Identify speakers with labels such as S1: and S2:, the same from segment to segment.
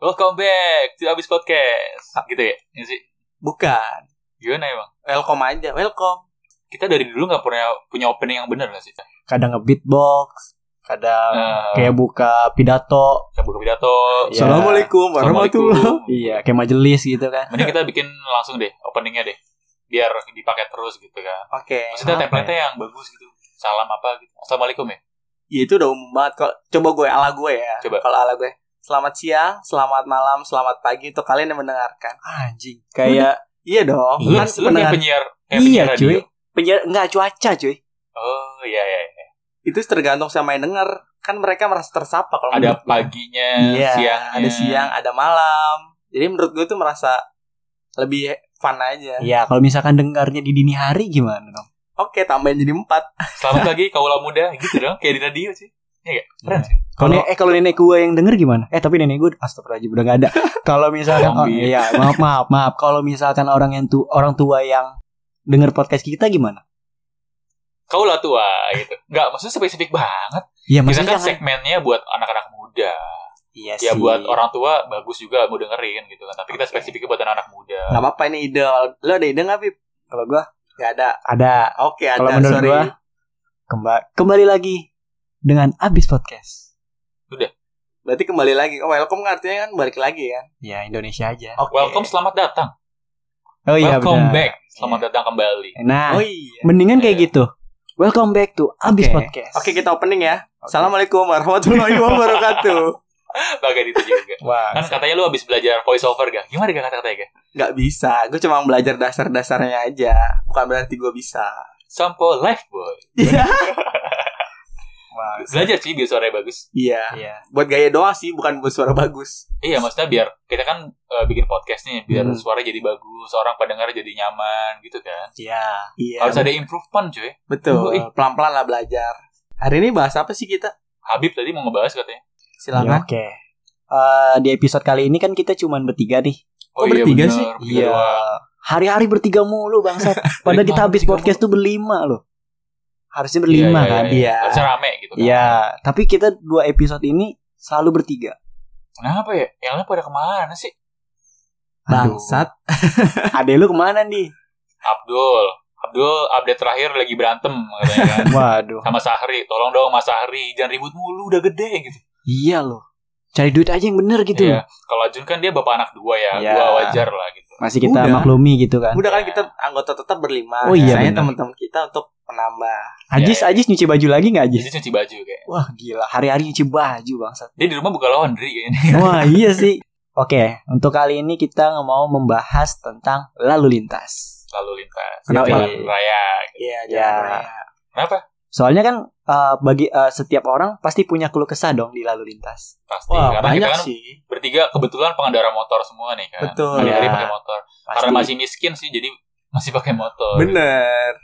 S1: Welcome back to Abis Podcast. Gitu ya? Ini sih.
S2: Bukan.
S1: Gimana emang?
S2: Welcome aja, welcome.
S1: Kita dari dulu nggak pernah punya opening yang benar nggak sih? Eh, Kita
S2: Kadang nge-beatbox,
S1: Eh, ya.
S2: kadang kayak buka pidato.
S1: buka pidato.
S2: Iya. Assalamualaikum
S1: Assalamualaikum.
S2: Iya, kayak majelis gitu kan.
S1: Mending kita bikin langsung deh openingnya deh. Biar dipakai terus gitu kan.
S2: Oke.
S1: Maksudnya
S2: apa
S1: template-nya
S2: ya?
S1: yang bagus gitu. Salam apa gitu. Assalamualaikum ya.
S2: Ya, itu udah umum banget kok. Coba gue ala gue ya.
S1: Coba.
S2: Kalau ala gue. Selamat siang, selamat malam, selamat pagi untuk kalian yang mendengarkan.
S3: Ah,
S2: Anjing. Kayak iya dong.
S1: Lu, lu
S2: Kan
S1: kayak
S2: pendengar-
S1: penyiar. Kayak
S2: Iya,
S1: penyiar radio.
S2: cuy. penyiar- enggak cuaca, cuy.
S1: Oh iya iya. iya.
S2: Itu tergantung sama yang denger. Kan mereka merasa tersapa kalau
S1: Ada
S2: menurut gue.
S1: paginya,
S2: Iya,
S1: siangnya.
S2: ada siang, ada malam. Jadi menurut gue tuh merasa lebih fun aja.
S3: Iya, kalau misalkan dengarnya di dini hari gimana dong?
S2: Oke, tambahin jadi empat.
S1: Selamat pagi kaula muda gitu dong. Kayak di radio sih. Iya gak? Keren
S3: Iya.
S1: sih.
S3: Kalau
S2: Kalau-
S3: ne- eh kalau nenek gue yang denger gimana? Eh tapi nenek gue astagfirullahaladzim udah gak ada. Kalau misalkan oh,
S1: Zombie.
S3: iya, maaf maaf maaf. Kalau misalkan orang yang tu orang tua yang denger podcast kita gimana?
S1: Kaula tua gitu. Nggak, maksudnya spesifik banget.
S3: Iya,
S1: Kita
S3: maksudnya
S1: kan
S3: jangan.
S1: segmennya buat anak-anak muda.
S3: Iya
S1: Ya buat orang tua bagus juga mau dengerin gitu kan. Tapi kita spesifiknya buat anak-anak muda.
S2: Gak apa-apa ini ide. Lo ada ide gak, Pip?
S3: Kalau gua
S2: Gak ada.
S3: ada
S2: Oke, ada.
S3: Kalau menurut
S2: Sorry.
S3: gua, kembali kembali lagi dengan abis podcast.
S2: Berarti kembali lagi. Oh, welcome kan artinya kan balik lagi kan?
S3: Ya Indonesia aja.
S2: Oke.
S1: Welcome, selamat datang.
S3: Oh
S1: Welcome
S3: benar. Iya.
S1: back. Selamat datang kembali.
S3: Nah,
S2: Oh iya.
S3: mendingan kayak
S1: Iya.
S3: gitu. Welcome back to abis
S2: Oke.
S3: podcast.
S2: Oke, kita opening ya.
S3: Oke.
S2: Assalamualaikum warahmatullahi wabarakatuh.
S1: Bagai itu juga.
S3: Wah,
S1: Kan katanya lu habis belajar voice over gak? Gimana gak kata-katanya gak?
S2: Gak bisa. Gue cuma belajar dasar-dasarnya aja. Bukan berarti gue bisa.
S1: Sampo live boy.
S2: Iya.
S3: wah.
S1: Belajar sih biar suaranya bagus.
S2: Iya.
S3: Iya.
S2: Buat gaya doang sih, bukan buat suara bagus.
S1: Iya maksudnya biar kita kan eh, bikin podcast nih biar
S3: Hmm.
S1: suara jadi bagus, orang pendengar jadi nyaman gitu kan.
S3: Iya.
S2: Iya.
S1: Harus ada improvement cuy. Ui.
S2: Betul. Pelan-pelan lah belajar. Hari ini bahas apa sih kita?
S1: Habib tadi mau ngebahas katanya.
S3: Ya,
S2: Silakan.
S3: Oke. Eh, di episode kali ini kan kita cuman bertiga nih.
S2: Oh, bertiga sih?
S1: Iya. bener, bertiga
S3: Hari-hari bertiga mulu bangsat. Padahal kita habis
S1: Bertiga
S3: podcast tuh berlima loh. Harusnya
S1: doang. Iya,
S3: berlima
S1: iya,
S3: kan?
S1: iya.
S2: Iya.
S1: Harusnya rame gitu kan.
S3: Iya, tapi kita dua episode ini selalu bertiga.
S1: Kenapa ya? Yang lain pada kemana sih?
S3: Aduh.
S2: Bangsat.
S3: Ade lu kemana nih?
S1: Abdul. Abdul update terakhir lagi berantem katanya kan.
S3: Waduh.
S1: Sama Sahri, tolong dong Mas Sahri, jangan ribut mulu, udah gede gitu.
S3: Iya loh. Cari duit aja yang bener gitu.
S1: Iya. Kalau Ajun kan dia bapak anak dua ya,
S3: Iya.
S1: dua wajar lah gitu.
S3: Masih kita
S2: Udah.
S3: maklumi gitu kan.
S2: Udah kan kita anggota tetap berlima.
S3: Oh, iya,
S2: Saya
S3: benar.
S2: teman-teman kita untuk menambah.
S3: Ajis,
S1: Iya,
S3: Ajis nyuci baju lagi nggak Ajis?
S1: Jadi cuci baju kayak.
S3: Wah gila, hari-hari nyuci baju bangsat.
S1: Dia di rumah buka laundry kayaknya.
S3: Wah iya sih. Oke, untuk kali ini kita mau membahas tentang lalu lintas.
S1: Lalu lintas
S3: Kenapa?
S1: di jalan raya. gitu.
S2: Iya,
S3: Iya.
S2: jangan raya.
S1: Kenapa?
S3: Soalnya kan eh, bagi eh, setiap orang pasti punya keluh kesah dong di lalu lintas.
S1: Pasti
S2: Wah,
S1: karena
S2: banyak
S1: kita kan
S2: sih.
S1: bertiga kebetulan pengendara motor semua nih kan.
S2: Betul.
S1: Hari-hari
S3: Iya.
S1: pakai motor.
S3: Pasti.
S1: Karena masih miskin sih jadi masih pakai motor.
S2: Bener.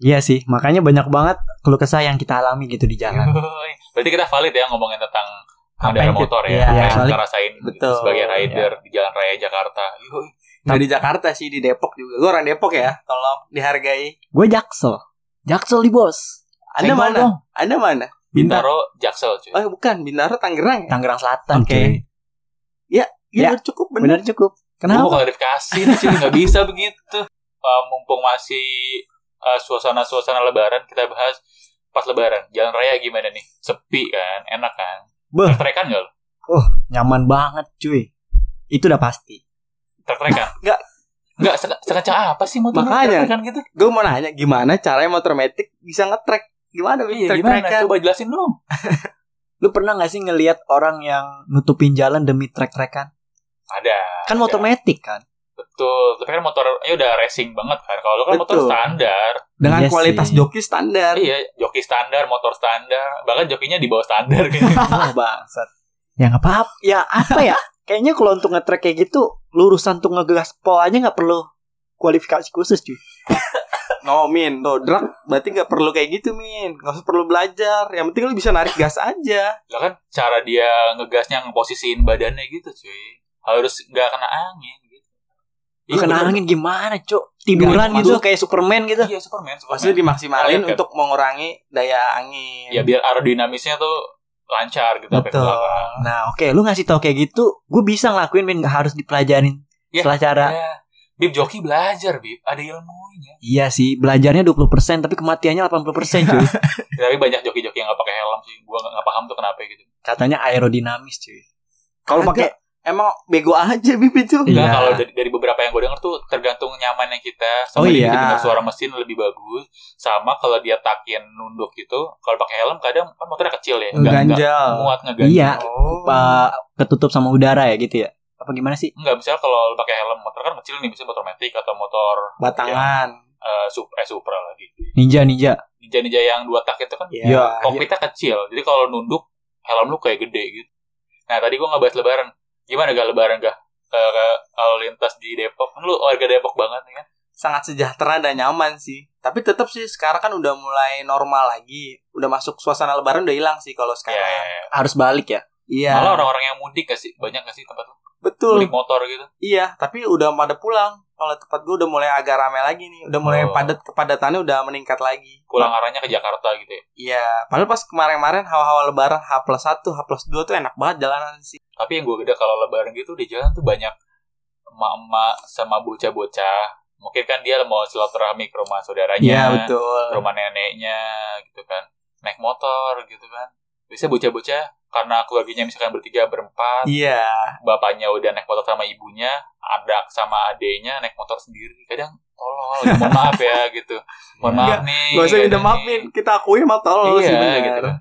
S3: Iya sih, makanya banyak banget keluh kesah yang kita alami gitu di jalan.
S1: Yoi. Berarti kita valid ya ngomongin tentang
S2: Apa
S1: pengendara
S2: yang kita-
S1: motor ya,
S3: iya,
S1: apa yang
S3: soalnya-
S1: kita rasain gitu
S2: Betul,
S1: sebagai rider di jalan raya Jakarta. Yoi.
S2: Nggak di Jakarta sih, di Depok juga. Gue orang Depok ya. Tolong dihargai.
S3: Gue jaksel, jaksel di bos,
S2: Anda
S1: Senggol
S2: mana?
S1: dong.
S2: Anda mana? Bintaro.
S1: Bintaro Jaksel cuy.
S2: Oh, bukan. Bintaro Tangerang ya?
S3: Tangerang Selatan.
S2: Oke.
S3: cuy.
S2: Iya, cukup bener.
S3: benar cukup.
S1: Gue mau
S3: Kenapa?
S1: klarifikasi nih cuy, nggak bisa begitu. Eh, mumpung masih eh, suasana-suasana Lebaran kita bahas pas Lebaran jalan raya gimana nih? Sepi kan, enak kan?
S3: Beuh.
S1: Tertrekan nggak lo?
S3: Nyaman banget cuy. Itu udah pasti.
S1: Tertrekan?
S2: Nggak.
S1: Nggak, se- sekencang apa sih motor
S2: Makanya.
S1: tertrekan gitu?
S2: Gue mau nanya, gimana caranya motor metik bisa nge-track? Gimana?
S1: Iya
S2: track
S1: gimana? Coba jelasin dong.
S3: Lu pernah nggak sih ngelihat orang yang nutupin jalan demi trek-trekan?
S1: Ada.
S3: Kan motor metik kan.
S1: Betul, tapi kan motor ya udah racing banget kan. Kalau lu kan motor
S2: Betul.
S1: standar.
S2: Dengan
S3: Iya
S2: kualitas
S3: sih.
S2: joki standar.
S1: Iya, joki standar, motor standar, bahkan jokinya di bawah standar gitu.
S3: Wah bangsat. Ya nggak apa-apa. Ya apa ya? Kayaknya kalau untuk ngetrek kayak gitu, lurusan tuh ngegas pol aja nggak perlu kualifikasi khusus cuy.
S2: No Min, no drag berarti nggak perlu kayak gitu Min, nggak usah perlu belajar. Yang penting lu bisa narik gas aja.
S1: Lah kan cara dia ngegasnya ngeposisiin badannya gitu, cuy. Harus nggak kena angin gitu.
S3: Lu kena angin gimana, Cok? Tiduran
S2: Nggak,
S3: gitu
S2: maksud-
S3: kayak Superman gitu.
S1: Iya, Superman, Superman.
S2: Maksudnya dimaksimalin
S1: Kalian kan-
S2: untuk mengurangi daya angin.
S1: Ya biar aerodinamisnya tuh lancar gitu sampai ke
S3: Betul.
S1: belakang.
S3: Nah, oke, lu ngasih tau kayak gitu, gue bisa ngelakuin min gak harus dipelajarin
S1: Ya,
S3: setelah cara.
S1: Ya. Bib joki belajar, Bib. Ada ilmunya.
S3: Iya sih, belajarnya 20% tapi kematiannya 80% cuy.
S1: Tapi banyak joki-joki yang gak pakai helm sih. Gua gak, nggak paham tuh kenapa gitu.
S3: Katanya aerodinamis cuy.
S2: Kalau pakai emang bego aja bib itu.
S1: Enggak,
S3: Iya.
S1: kalau dari, dari beberapa yang gue denger tuh tergantung nyamannya kita. Sama
S2: Oh,
S1: dia
S2: iya.
S1: dengar suara mesin lebih bagus. Sama kalau dia takian nunduk gitu. Kalau pakai helm kadang kan motornya kecil ya. Nggak- nggak
S2: Ganjal.
S1: muat ngeganjal.
S3: Iya.
S2: Oh.
S3: Apa ketutup sama udara ya gitu ya? Apa gimana sih?
S1: Enggak, misalnya kalau lu pakai helm motor kan kecil nih. Misalnya motor matic atau motor
S2: Batangan.
S1: eh, sup, eh, Supra lagi.
S3: Ninja ninja.
S1: Ninja-ninja yang dua tak itu kan
S2: Iya.
S1: kokpitnya kecil. Jadi kalau nunduk helm lu kayak gede gitu. Nah, tadi gua ngebahas lebaran. Gimana gak lebaran gak? Eh, ke lalu lintas di Depok. Kan lu warga Depok banget ya.
S2: Sangat sejahtera dan nyaman sih. Tapi tetap sih sekarang kan udah mulai normal lagi. Udah masuk suasana lebaran udah hilang sih kalau
S1: Iya.
S2: sekarang.
S1: iya, iya.
S3: Harus balik ya.
S2: Iya.
S1: Malah orang-orang yang mudik gak sih? Banyak gak sih tempat lu?
S2: Betul.
S1: Mudik motor gitu.
S2: Iya, tapi udah pada pulang. Kalau tempat gue udah mulai agak rame lagi nih. Udah mulai
S1: Oh.
S2: padat kepadatannya udah meningkat lagi.
S1: Pulang arahnya ke Jakarta gitu ya.
S2: Iya, padahal pas kemarin-kemarin hawa-hawa lebaran H plus 1, H plus 2 tuh enak banget jalanan sih.
S1: Tapi yang gue beda kalau lebaran gitu di jalan tuh banyak emak-emak sama bocah-bocah. Mungkin kan dia mau silaturahmi ke rumah
S2: Iya.
S1: saudaranya.
S2: betul.
S1: ke rumah neneknya gitu kan naik motor gitu kan biasanya bocah-bocah karena keluarganya misalkan bertiga berempat
S2: Iya,
S1: bapaknya udah naik motor sama ibunya ada sama adeknya naik motor sendiri kadang tolol gitu. mohon maaf ya gitu mohon maaf nih
S2: gak Iya. usah
S1: kadang
S2: minta
S1: nih.
S2: maaf, Min. Kita akui emang tolol sih
S1: iya
S2: bener.
S1: gitu kan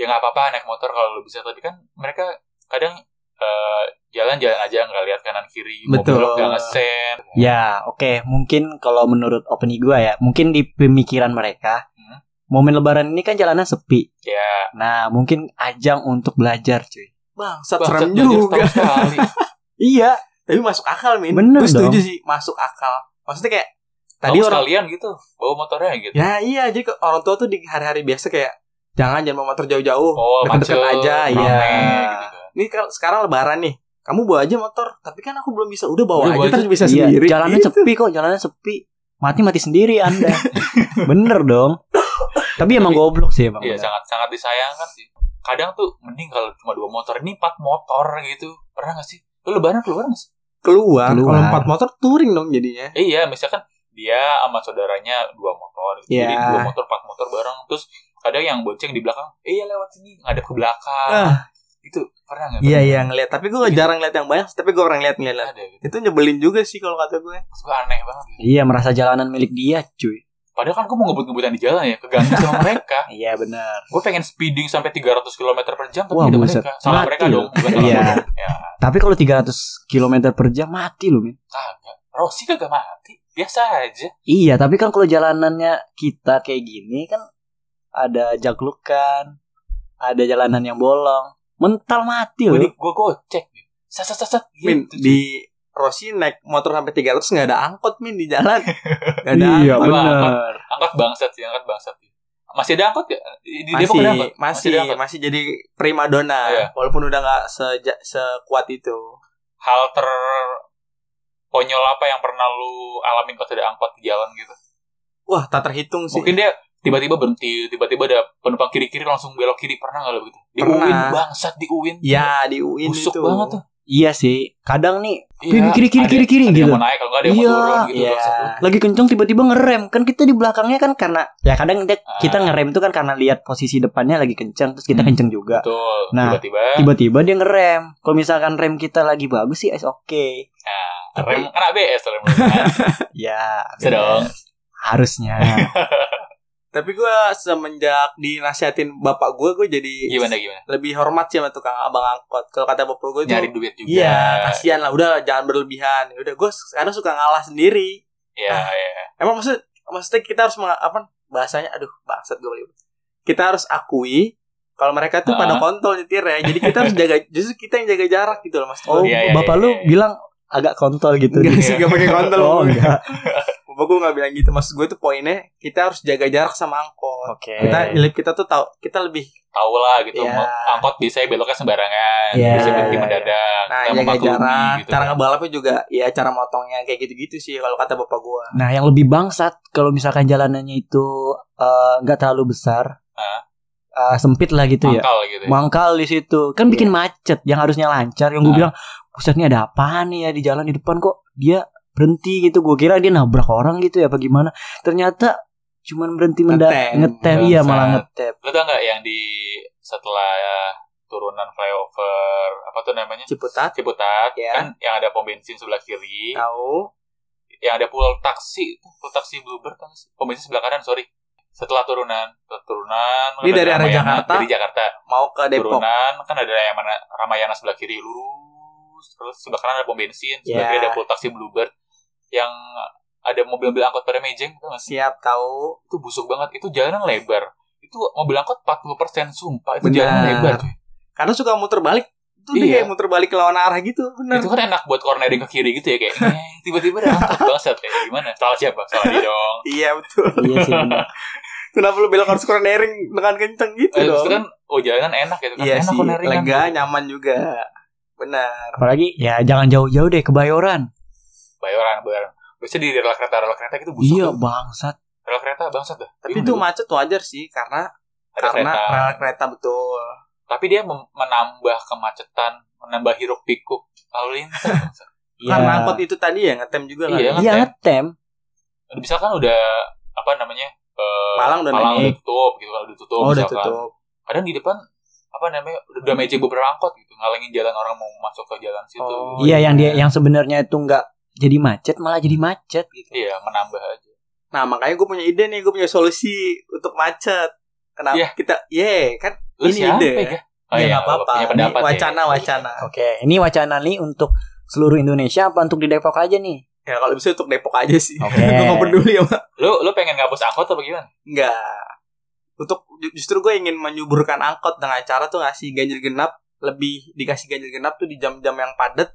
S1: ya nggak apa-apa naik motor kalau lu bisa tapi kan mereka kadang eh, jalan-jalan aja nggak lihat kanan kiri mau
S2: Betul.
S1: belok nggak ngesen
S3: Ya, oke, mungkin kalau menurut opini gue ya, mungkin di pemikiran mereka
S1: Hmm.
S3: momen lebaran ini kan jalanan sepi.
S1: ya
S3: Nah, mungkin ajang untuk belajar cuy.
S2: Bangsat,
S1: bangsat,
S2: serem
S1: belajar
S2: juga.
S1: setahun sekali.
S3: Iya,
S2: Tapi masuk akal, Min.
S3: Bener
S2: Gue setuju
S3: dong.
S2: sih, masuk akal. Maksudnya kayak
S1: tadi
S2: tadi orang
S1: sekalian gitu bawa motornya gitu
S2: Ya iya, jadi ke- orang tua tuh di hari-hari biasa kayak jangan jangan bawa motor jauh-jauh.
S1: oh
S2: Deket-deket
S1: macet,
S2: aja,
S1: rame,
S2: iya.
S1: gitu kan.
S2: Ini kalau sekarang lebaran nih. Kamu bawa aja motor, tapi kan aku belum bisa. Udah bawa
S1: Udah, bawa
S2: aja terus
S1: aja.
S2: bisa
S3: Iya,
S2: sendiri.
S3: Jalanan
S2: Gitu.
S3: sepi kok, jalanan sepi. Mati-mati sendiri Anda. Bener dong. Tapi emang
S1: Tapi-
S3: goblok sih emang.
S1: Iya
S3: bener.
S1: sangat sangat disayangkan sih. Kadang tuh mending kalau cuma dua motor, ini empat motor gitu. Pernah gak sih? Lu lebaran keluar gak sih?
S2: keluar.
S3: Keluar.
S2: Kalau empat motor touring dong jadinya.
S1: Eh, iya, misalkan dia sama saudaranya dua motor. gitu. Jadi
S2: Iya.
S1: dua motor, empat motor bareng. Terus kadang yang bonceng di belakang, eh iya lewat sini, ngadep ke belakang.
S2: Ah.
S1: Gitu, pernah gak?
S2: Iya iya ngeliat, tapi gue
S1: Gitu.
S2: jarang ngeliat yang banyak. Tapi gue orang ngeliat ngeliat.
S1: Ada gitu.
S2: Itu nyebelin juga sih kalau kata gue.
S1: Terus gue aneh banget. gitu.
S3: Iya, merasa jalanan milik dia, cuy.
S1: Padahal kan gue mau ngebut-ngebutan di jalan ya, keganggu sama mereka.
S3: Iya, benar.
S1: Gue pengen speeding sampai 300 km per jam, tapi
S3: Wah,
S1: tidak
S3: buset.
S1: mereka. Salah
S3: Mati
S1: mereka
S3: lu.
S1: dong, bukan salah
S3: Iya.
S1: gua dong. Ya,
S3: Tapi kalau 300 km per jam mati loh, Min.
S1: kagak. Rossi kagak mati, biasa aja.
S3: Iya, tapi kan kalau jalanannya kita kayak gini kan ada jaglukan, ada jalanan yang bolong. Mental mati
S1: gue
S3: loh.
S1: gue gocek nih sat sat sat sat
S2: Min
S1: gitu.
S2: di Rossi naik motor sampai 300 nggak ada angkot min di jalan. Nggak ada
S3: Iya,
S2: angkot.
S1: Bang.
S3: benar.
S1: angkat bangsat sih angkat bangsat masih ada angkot ya di Depok
S2: Masih,
S1: ada angkot
S2: masih,
S1: ada
S2: masih,
S1: angkot
S2: jadi primadona
S1: Iya.
S2: walaupun udah nggak seja- sekuat itu.
S1: hal ter konyol apa yang pernah lu alamin pas ada angkot di jalan gitu
S2: Wah, tak terhitung sih.
S1: mungkin dia tiba-tiba berhenti tiba-tiba ada penumpang kiri-kiri langsung belok kiri pernah nggak lo gitu di
S2: Pernah.
S1: Uin bangsat di Uin
S2: Ya di UIN
S1: busuk
S2: itu.
S1: banget tuh
S3: Iya sih, kadang nih
S1: Iya,
S3: Kiri, kiri, kiri,
S1: ada-
S3: kiri, kiri,
S1: ada
S3: gitu.
S1: yang mau naik kalau nggak ada yang
S3: Iya,
S1: mau turun gitu
S2: Iya.
S1: bangsat.
S3: lagi kenceng tiba-tiba ngerem kan kita di belakangnya kan karena ya kadang kita, kita ngerem itu kan karena lihat posisi depannya lagi kenceng terus
S1: Ah.
S3: kita
S1: Hmm.
S3: kenceng juga
S1: betul
S3: Nah,
S1: tiba-tiba
S3: tiba-tiba dia ngerem kalau misalkan rem kita lagi bagus sih is oke
S1: nah, rem kan ABS rem kan
S3: ya
S1: Bisa dong.
S3: harusnya
S2: Tapi gue semenjak dinasihatin bapak gue, gue jadi
S1: gimana gimana
S2: lebih hormat sih sama tukang abang angkot. Kalau kata bapak gue tuh,
S1: nyari duit juga
S2: iya kasihan lah. Udah jangan berlebihan. Ya Udah gue sekarang suka ngalah sendiri.
S1: iya iya
S2: Emang maksud maksudnya kita harus meng, apa bahasanya? Aduh, bangsat gue belibet. Kita harus akui kalau mereka tuh
S1: Ah.
S2: pada kontol nyetir ya. Jadi kita harus jaga justru kita yang jaga jarak gitu loh mas.
S3: oh
S2: Gua.
S1: Iya, iya,
S3: bapak
S1: iya,
S3: lu
S1: iya.
S3: bilang agak kontol gitu
S2: Enggak
S1: Iya.
S2: sih, gak pakai kontol.
S3: oh enggak
S2: Bapak gue gak bilang gitu. Maksud gue tuh poinnya, kita harus jaga jarak sama angkot.
S3: oke
S2: Kita, kita tuh tahu kita lebih
S1: tahu lah gitu
S2: Iya.
S1: mau angkot biasanya beloknya sembarangan
S3: Iya.
S1: bisa berhenti
S2: Iya.
S1: mendadak
S2: nah
S1: kita
S2: jaga
S1: memaklumi
S2: jarak,
S1: gitu
S2: cara ngebalapnya juga ya cara motongnya kayak gitu-gitu sih kalau kata bapak gue.
S3: nah yang lebih bangsat kalau misalkan jalanannya itu eh, nggak terlalu besar
S1: Hah?
S3: eh eh, sempit lah gitu ya.
S1: mangkal gitu
S2: Iya.
S1: ya.
S3: Mangkal di situ. Kan bikin macet yang harusnya lancar. Yang gue
S2: Nah.
S1: Ah.
S3: bilang, "Buset nih ada apaan nih ya di jalan di depan kok dia berhenti gitu. Gue kira dia nabrak orang gitu ya apa gimana. Ternyata cuman berhenti mendadak
S2: Ngetem.
S3: ngetem iya
S1: Bangsat.
S3: malah ngetem.
S1: Lu tau nggak yang di setelah turunan flyover apa tuh namanya
S2: Ciputat
S1: Ciputat
S2: Ya.
S1: kan yang ada pom bensin sebelah kiri,
S2: Iya. tahu
S1: yang ada pulau taksi, pulau taksi Bluebird kan pom bensin sebelah kanan sorry. Setelah turunan, setelah turunan kan
S2: Ini
S1: ada
S2: dari arah
S1: Ramayana,
S2: Jakarta?
S1: dari Jakarta.
S2: mau ke Depok.
S1: Turunan kan ada Ramayana, Ramayana sebelah kiri lurus, terus sebelah kanan ada pom bensin, sebelah
S2: Ya.
S1: kiri ada pulau taksi Bluebird yang ada mobil-mobil angkot pada mejeng itu masih
S2: Siap tahu.
S1: itu busuk banget itu jalanan lebar itu mobil angkot 40% sumpah itu
S2: Benar.
S1: jalanan lebar cuy.
S2: Karena suka muter balik. Itu
S1: Iya.
S2: dia kayak muter balik lawan arah gitu. Benar.
S1: itu kan enak buat cornering ke kiri gitu ya kayak eh, tiba-tiba ada angkot bangsat kayak gimana salah siapa salah dia dong
S2: Iya betul.
S3: Iya sih. bener.
S2: Kenapa lu belok harus cornering dengan kenceng gitu
S1: Eh,
S2: dong?
S1: itu kan oh jalanan enak gitu kan
S2: iya
S1: enak
S2: sih.
S1: cornering
S2: Lega, nyaman juga. Benar.
S3: Apalagi ya jangan jauh-jauh deh ke Bayoran.
S1: bayoran bayoran biasanya di rel kereta rel kereta gitu busuk tuh.
S3: Iya bangsat.
S1: rel kereta bangsat dah
S2: Tapi
S1: Bingung
S2: itu
S1: dulu.
S2: macet wajar sih karena
S1: ada
S2: karena
S1: kereta
S2: rel kereta betul.
S1: tapi dia mem- menambah kemacetan menambah hiruk pikuk lalu lintas bangsat.
S3: Iya.
S2: Karena angkot Kan itu tadi ya ngetem juga kan.
S1: Iya.
S3: Iya ngetem.
S1: misalkan udah apa namanya eh,
S2: Malang udah
S1: Malang udah
S2: naik.
S1: tutup gitu kan udah tutup
S2: Oh, udah
S1: misalkan.
S2: tutup.
S1: kadang di depan apa namanya udah mejeng beberapa angkot gitu ngalengin jalan orang mau masuk ke jalan situ
S2: Oh,
S3: iya
S2: iya.
S3: yang dia yang sebenarnya itu nggak jadi macet malah jadi macet gitu.
S1: iya menambah aja
S2: Nah, makanya gue punya ide nih, gue punya solusi untuk macet. Kenapa
S1: Iya.
S2: kita ye kan
S1: lu
S2: Ini
S1: siapa
S2: ide.
S1: ya oh,
S2: ya
S1: iya,
S2: nggak apa-apa.
S1: punya
S2: Ini
S1: pendapat
S2: wacana
S1: ya.
S2: wacana.
S3: Oke, ini wacana nih untuk seluruh Indonesia apa untuk di Depok aja nih?
S2: Ya kalau bisa untuk Depok aja sih.
S3: Oke.
S1: Iya.
S2: gue gak peduli sama
S1: lu lu pengen ngapus angkot atau gimana
S2: Enggak. Untuk ju- justru gue ingin menyuburkan angkot dengan cara tuh ngasih ganjil genap lebih dikasih ganjil genap tuh di jam-jam yang padat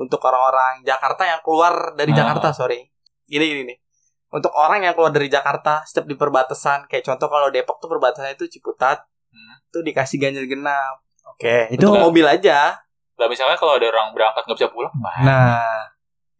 S2: untuk orang-orang Jakarta yang keluar
S1: Ah.
S2: dari Jakarta sorry. Gini gini nih. Untuk orang yang keluar dari Jakarta setiap di perbatasan kayak contoh kalau Depok tuh perbatasannya itu Ciputat
S1: Hmm.
S2: tuh dikasih ganjil genap.
S3: Oke, itu
S2: Itu mobil aja.
S1: lah misalnya kalau ada orang berangkat nggak bisa pulang gimana
S3: nah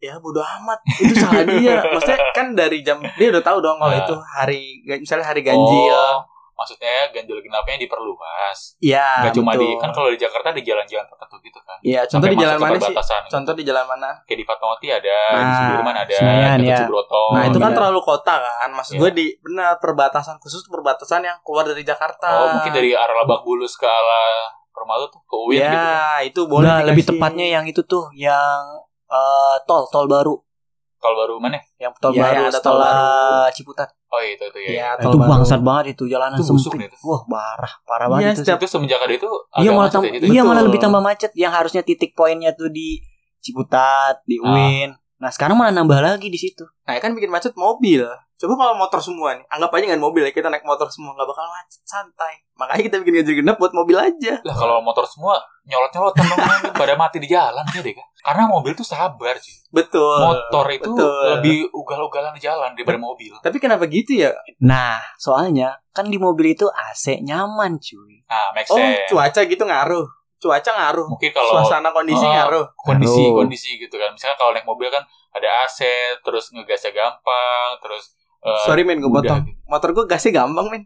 S2: Ya bodo amat. Itu salah dia. Maksudnya kan dari jam dia udah tahu dong kalau
S1: Ah.
S2: itu hari misalnya hari ganjil.
S1: Oh, maksudnya ganjil genapnya diperluas
S2: Iya.
S1: nggak cuma di
S2: betul.
S1: kan kalau di Jakarta di jalan-jalan tertentu gitu kan
S2: Iya, contoh
S1: Sampai
S2: di jalan
S1: masuk ke
S2: mana sih?
S1: perbatasan.
S2: Contoh di jalan mana?
S1: kayak di Fatmawati ada di
S2: Nah,
S1: Sudirman ada
S3: Senayan,
S1: di
S3: ya.
S1: Cibroto
S2: Nah, itu kan
S3: iya.
S2: terlalu kota kan. Maksud
S1: Oh, Iya.
S2: gue di benar perbatasan khusus perbatasan yang keluar dari Jakarta.
S1: oh mungkin dari arah Lebak Bulus ke arah rumah lu tuh ke Uin
S2: ya,
S1: gitu kan
S2: itu boleh
S3: nggak,
S2: dikasih.
S3: lebih tepatnya yang itu tuh yang eh, tol tol baru,
S1: kalau baru mana
S3: yang tol
S2: Iya,
S3: baru
S2: yang ada tol
S3: setelah
S2: baru.
S3: Ciputat.
S1: oh itu itu ya,
S2: Iya,
S1: ya.
S2: tol
S3: itu
S2: baru.
S3: bangsat banget itu jalanan
S1: Itu busuk nih
S3: sempit.
S1: itu.
S3: Wah, parah, parah
S2: Iya,
S3: banget itu.
S2: setiap-
S1: itu semenjak ada itu
S3: Iya
S1: agak
S3: malah
S1: macet
S3: tam-
S1: ya, gitu.
S3: iya malah
S2: Betul.
S3: lebih tambah macet yang harusnya titik poinnya tuh di Ciputat, di
S1: Ah.
S3: Uin. Nah, sekarang malah nambah lagi di situ.
S2: Nah, kan bikin macet mobil. Coba kalau motor semua nih, anggap aja nggak ada mobil ya kita naik motor semua nggak bakal macet, santai. Makanya kita bikin ganjil genap buat mobil aja.
S1: Lah kalau motor semua nyolot-nyolotan dong anjing. pada mati di jalan ya deh kan. Karena mobil tuh sabar sih.
S2: Betul.
S1: Motor itu
S2: betul.
S1: lebih ugal-ugalan di jalan daripada mobil.
S2: Tapi kenapa gitu ya?
S3: Nah, soalnya kan di mobil itu AC nyaman, cuy.
S1: Nah, make
S2: Oh,
S1: sense.
S2: cuaca gitu ngaruh. Cuaca ngaruh.
S1: Mungkin kalau
S2: Suasana kondisi
S1: Oh.
S2: ngaruh.
S3: Aduh.
S1: kondisi-kondisi gitu kan. Misalnya kalau naik mobil kan ada AC, terus ngegasnya gampang, terus eh,
S2: Sorry men, gue
S1: udah
S2: potong.
S1: gitu.
S2: Motor gue gasnya gampang men.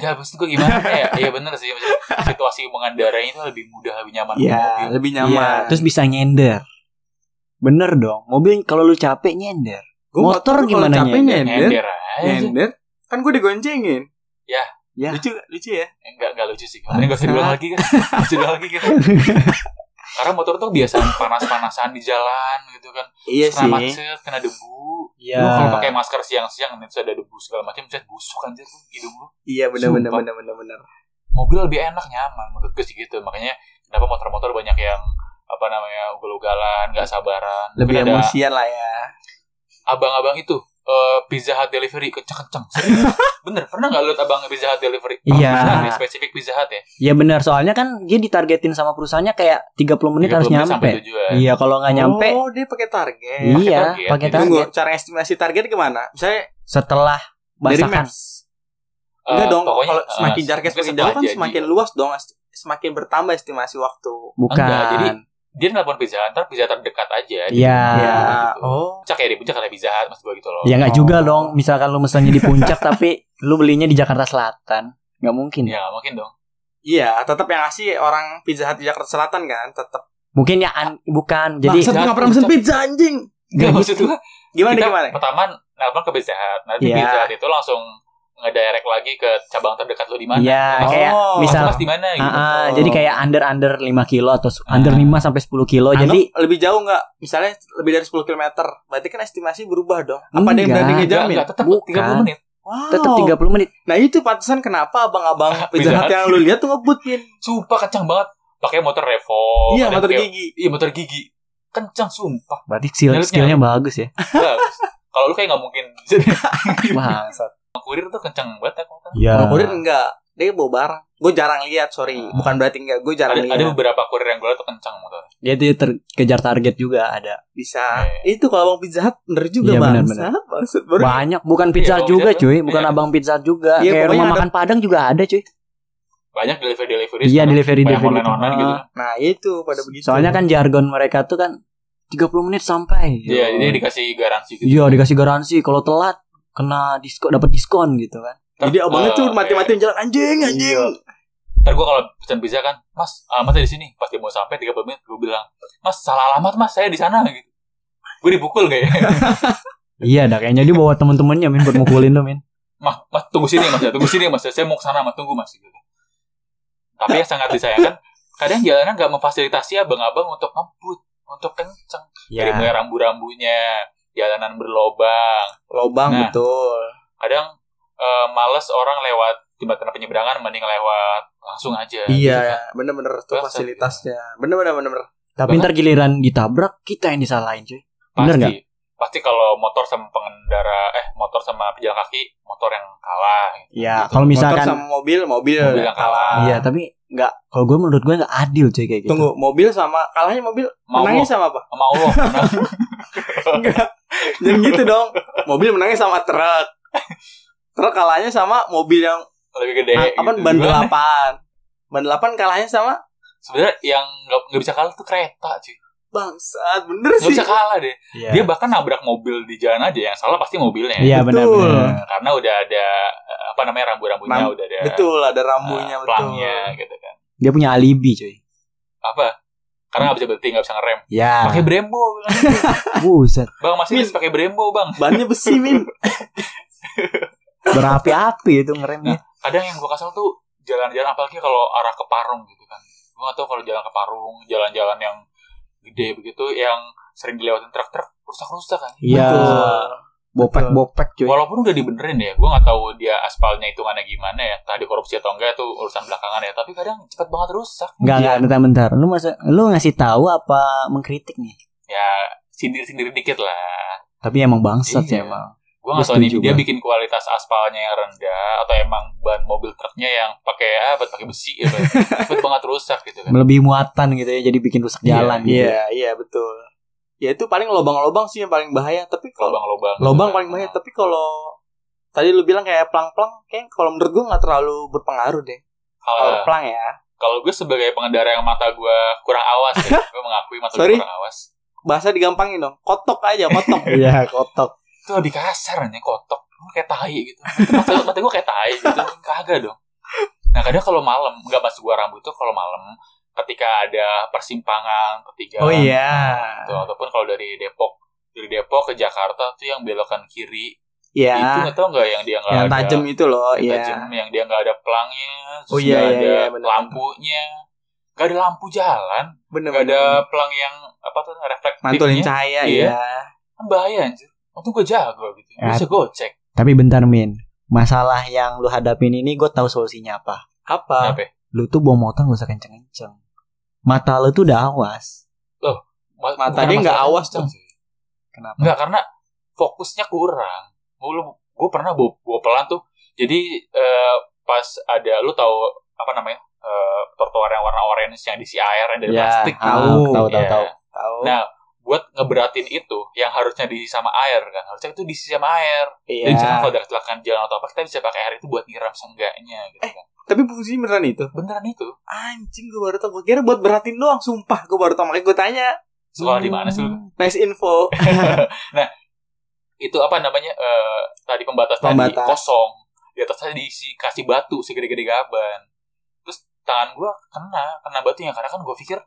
S1: Nggak, maksud gue gimana ya? Iya bener sih. Maksudnya, situasi mengendarainya itu lebih mudah, lebih nyaman.
S2: Iya,
S1: mobil.
S2: lebih
S3: Iya,
S2: nyaman.
S3: terus bisa nyender. Bener dong. Mobil kalau lu capek nyender.
S2: Gua tuh
S3: Motor
S2: kalau
S3: gimana
S2: capek
S3: nyender?
S2: nyender?
S1: Nyender aja.
S2: Nyender? Kan gue digoncengin.
S1: Ya.
S3: Ya.
S2: Lucu lucu ya.
S1: Enggak, enggak Eh, lucu sih. Mending gak usah diulang lagi kan. Gak usah diulang lagi kan. Karena motor tuh biasaan panas-panasan di jalan gitu kan.
S2: Iya
S1: kena macet, kena debu.
S3: Iya.
S1: Lu kalau pakai masker siang-siang nanti ada debu segala macam, bisa busuk anjir tuh hidung lu.
S2: Iya benar benar
S1: Sumpah.
S2: benar benar benar.
S1: Mobil lebih enak nyaman menurut gue sih gitu. Makanya kenapa motor-motor banyak yang apa namanya ugal-ugalan, nggak sabaran.
S2: Lebih
S1: Mungkin ada
S2: emosian lah ya.
S1: abang-abang itu eh, Pizza Hut delivery kenceng-kenceng. Serius. Bener, pernah nggak lu liat abang Pizza Hut delivery?
S3: Iya.
S1: Pizza Hut ya, spesifik Pizza Hut ya.
S3: Ya benar, soalnya kan dia ditargetin sama perusahaannya kayak 30
S1: 30
S3: menit harus
S1: sampai
S3: kan nyampe.
S1: tujuan.
S3: Iya, kalau nggak nyampe,
S2: Oh, dia pakai ya, target.
S3: iya,
S1: target.
S3: pakai
S1: Jadi
S3: target.
S2: Tunggu, cara estimasi target gimana? Misalnya
S3: Setelah
S2: dari
S3: basakan.
S2: maps.
S1: Eh,
S2: Enggak dong,
S1: pokoknya,
S2: kalau
S1: eh,
S2: semakin jaraknya
S1: mungkin
S2: semakin jauh kan
S1: setelah
S2: semakin
S1: jadi.
S2: luas dong, as- semakin bertambah estimasi waktu.
S3: Bukan.
S1: Enggak, jadi- dia nelfon Pizza Hut, ntar Pizza Hut terdekat aja. di
S3: Iya.
S1: rumah,
S2: Iya.
S1: gitu.
S2: Oh.
S1: puncak ya di puncak ada Pizza Hut maksud gue gitu loh.
S3: ya nggak
S2: Oh.
S3: juga dong. Misalkan lu mesennya di puncak tapi lu belinya di Jakarta Selatan. nggak mungkin
S1: Ya nggak mungkin dong.
S2: Iya, tetap yang ngasih orang Pizza Hut di Jakarta Selatan kan, tetap.
S3: mungkin ya an- bukan
S2: Jadi
S3: jadi
S1: Bangsat.
S2: nggak pernah pesen pizza anjing.
S3: gitu.
S1: Gak maksud gue.
S2: Gimana
S1: kita
S2: gimana?
S1: pertama nelpon ke Pizza Hut. Nanti
S3: Iya.
S1: Pizza Hut itu langsung ngedirect lagi ke cabang terdekat lo di mana.
S3: Iya,
S1: Langsung,
S3: kayak
S2: Oh,
S3: misal
S1: Mas di mana
S3: Ah,
S1: gitu.
S3: ah, jadi kayak under under 5 kilo atau su-
S1: Ah.
S3: under 5 sampai 10 kilo.
S2: Anggap
S3: Oh, Jadi
S2: Anu, lebih jauh nggak? Misalnya lebih dari 10 km. Berarti kan estimasi berubah dong. Apa ada yang
S3: Enggak.
S2: berani
S1: Enggak,
S2: ngejamin?
S1: enggak, tetap
S3: Bukan.
S1: 30 menit.
S2: Wow.
S3: tetap 30 menit.
S2: Nah itu pantesan kenapa abang-abang
S1: Pizza
S2: Pizza Hut
S1: Hut.
S2: yang lu lihat tuh ngebut Pin.
S1: Sumpah kencang banget. Pakai motor Revo. Oh,
S2: iya
S1: ada yang
S2: motor
S1: pakai-
S2: gigi.
S1: Iya, motor gigi. Kencang sumpah.
S3: Berarti skill
S1: Nyelip-nyelip.
S3: skillnya bagus ya.
S1: Bagus. Kalau lu kayak nggak mungkin. Jadi
S3: Bangsat.
S1: kurir tuh kencang banget ya, aku.
S3: Iya.
S2: Kalau kurir enggak, dia bawa barang. Gue jarang lihat, sorry.
S3: Ah.
S2: Bukan berarti enggak, gue
S1: Ada,
S2: jarang lihat.
S1: ada beberapa kurir yang gue liat tuh kencang motor.
S3: Dia tuh ter- kejar target juga ada.
S2: bisa.
S1: Eh.
S2: Itu kalau abang Pizza Hut bener juga
S3: Iya,
S2: bang.
S3: bener,
S2: Bangsa, bangsa, bener.
S3: Banyak bukan pizza
S1: Iya, kalau
S3: juga
S1: pizza
S3: cuy,
S1: tuh,
S3: bukan
S1: iya.
S3: abang pizza juga.
S2: Iya,
S3: Kayak
S2: pokoknya
S3: rumah
S2: ada-
S3: makan Padang juga ada cuy.
S1: Banyak delivery delivery.
S3: Iya, delivery
S1: Banyak
S3: delivery.
S1: online online gitu.
S3: Ah,
S2: Nah itu pada begitu.
S3: Soalnya kan jargon mereka tuh kan 30 menit sampai.
S1: Iya, jadi dikasih garansi gitu.
S3: Iya, dikasih garansi kalau telat kena diskon dapat diskon gitu kan.
S2: jadi abangnya tuh
S1: mati-mati
S2: mati-matian jalan anjing anjing.
S1: eh,
S3: Iya.
S1: Ntar gue kalau pesan pizza kan, Mas, ah, Mas saya di sini. Pas dia mau sampai 30 menit, gue bilang, Mas, salah alamat Mas, saya di sana gitu. Gue dipukul gak ya?
S3: Iya, dah kayaknya dia bawa temen-temennya min buat mukulin tuh min.
S1: Mas, mas tunggu sini mas, ya. tunggu sini mas, saya mau kesana mas, tunggu mas. Gitu. Tapi yang sangat disayangkan, kadang jalanan gak memfasilitasi abang-abang untuk ngebut, untuk kenceng.
S2: Ya.
S1: Dari mulai rambu-rambunya, jalanan berlobang.
S2: Lobang
S1: Nah.
S2: betul.
S1: Kadang eh, males orang lewat jembatan penyeberangan, mending lewat langsung aja. Gitu.
S2: Iya, bener-bener tuh
S1: Bangsa,
S2: fasilitasnya. Bener-bener bener-bener.
S3: Tapi ntar giliran ditabrak kita yang disalahin cuy.
S1: Pasti.
S3: Bener nggak?
S1: Pasti kalau motor sama pengendara, eh motor sama pejalan kaki, motor yang kalah. gitu.
S3: Iya, kalau misalkan
S2: Motor sama mobil, mobil,
S1: Mobil yang kalah.
S3: iya tapi nggak kalau gue menurut gue nggak adil cuy kayak gitu.
S2: Tunggu, mobil sama kalahnya mobil,
S1: Mau
S2: menangnya
S1: lo,
S2: sama apa?
S1: mau lo. Nah,
S2: Enggak. Jangan gitu dong. Mobil menangnya sama truk. Truk kalahnya sama mobil yang
S1: lebih gede.
S2: ah, apa
S1: gitu.
S2: ban
S1: Gimana?
S2: delapan. Ban delapan kalahnya sama
S1: sebenarnya yang nggak nggak bisa kalah tuh kereta cuy
S2: bangsat. Bener
S1: nggak
S2: sih.
S1: bisa kalah deh
S3: Iya.
S1: dia bahkan nabrak mobil di jalan aja yang salah pasti mobilnya Nah,
S3: Iya
S2: Betul.
S3: benar benar.
S1: karena udah ada eh, apa namanya rambu-rambunya
S2: Ram-
S1: udah ada
S2: Betul, ada
S1: eh,
S2: rambunya betul.
S1: pelangnya gitu kan
S3: Dia punya alibi cuy.
S1: apa karena nggak bisa berhenti nggak bisa ngerem
S3: Ya.
S1: pakai Brembo kan.
S3: Buset.
S1: bang masih
S2: Ah. Min.
S1: bisa pakai Brembo bang
S2: Bannya besi, Min.
S3: Berapi-api itu ngeremnya.
S1: kadang yang gua kesel tuh jalan-jalan apalagi kalau arah ke Parung gitu kan gua nggak tahu kalau jalan ke Parung jalan-jalan yang gede begitu yang sering dilewatin truk-truk rusak-rusak kan
S3: Iya.
S2: Betul.
S3: Bopek-bopek cuy.
S1: Walaupun udah dibenerin ya, gue nggak tahu dia aspalnya hitungannya gimana ya, tadi korupsi atau enggak itu urusan belakangan ya. Tapi kadang cepet banget rusak.
S3: Enggak enggak bentar-bentar. Lu masa lu ngasih tahu apa mengkritik nih?
S1: Ya sindir-sindir dikit lah.
S3: Tapi emang bangsat ya, sih
S1: Iya.
S3: emang.
S1: Gue nggak
S3: Gua
S1: tahu nih,
S3: setuju,
S1: dia
S3: gua.
S1: bikin kualitas aspalnya yang rendah atau emang ban mobil truknya yang pakai apa? Pakai besi ya, Pak. cepet banget rusak gitu kan.
S3: Melebihi muatan gitu ya jadi bikin rusak
S1: Iya,
S3: jalan gitu.
S2: Iya, iya betul. Ya itu paling lobang-lobang sih yang paling bahaya, tapi kalau
S1: Lobang-lobang. gitu
S2: lobang
S1: kan.
S2: paling bahaya, tapi kalau tadi lu bilang kayak pelang-pelang kayak kalau menurut gua nggak terlalu berpengaruh deh. Kalau
S1: Kalau
S2: pelang ya.
S1: kalau gue sebagai pengendara yang mata gue kurang awas, ya. gue mengakui mata gue
S2: Sorry.
S1: kurang awas.
S2: Bahasa digampangin dong. Kotok aja, kotok.
S3: Iya, kotok.
S1: Itu lebih kasar nih kotok. Gua kayak tai gitu. Mata, mata gue kayak tai gitu. Kagak dong. Nah kadang kalau malam nggak masuk gua rambut tuh kalau malam ketika ada persimpangan ketiga
S2: Oh iya.
S1: gitu, ataupun kalau dari Depok dari Depok ke Jakarta tuh yang belokan kiri
S2: Iya.
S1: itu nggak tau nggak yang dia nggak
S2: yang
S1: ada
S2: tajam itu loh
S1: yang
S2: iya
S1: tajam, yang dia nggak ada pelangnya terus
S2: Oh, iya,
S1: nggak
S2: iya,
S1: ada
S2: iya, benar.
S1: lampunya nggak ada lampu jalan
S2: bener
S1: nggak
S2: bener.
S1: ada pelang yang apa tuh reflektifnya
S2: mantulin cahaya
S1: Iya.
S2: iya
S1: kan bahaya anjir untung gue jago gitu
S3: Ya.
S1: bisa gocek
S3: Tapi bentar Min. Masalah yang lu hadapin ini gue tahu solusinya apa.
S2: apa
S1: Kenapa ya?
S3: lu tuh bawa motor gak usah kenceng-kenceng. Mata lu tuh udah awas.
S1: Ma-
S2: Mata
S1: bukan
S2: dia nggak
S1: masalah
S2: awas
S1: kenceng
S2: dong.
S1: sih.
S3: Kenapa?
S1: Enggak karena fokusnya kurang. Gue gue pernah bawa, bawa pelan tuh. Jadi eh, pas ada lu tahu apa namanya? eh trotoar yang warna orange yang diisi air yang dari plastik.
S3: ah,
S2: Ya, Iya, tahu.
S3: tahu, tahu,
S1: Ya.
S3: tahu.
S2: tahu
S1: Nah, buat ngeberatin itu yang harusnya diisi sama air kan. Harusnya itu diisi sama air. Jadi misalkan
S2: iya
S1: kalau ada kecelakaan di jalan atau apa kita bisa pakai air itu buat nyiram seenggaknya gitu kan.
S2: tapi fungsinya beneran itu
S1: Beneran itu.
S2: anjing gue baru tau gue kira buat berhatiin doang sumpah gue baru tau makanya gue tanya
S1: Sekolah di mana sih lu?
S3: Hmm.
S2: nice info
S1: Itu apa namanya? eh, tadi pembatas,
S2: Pembatas.
S1: tadi kosong. di atasnya diisi kasih batu segede-gede gaban terus tangan gue kena kena batunya karena kan gue pikir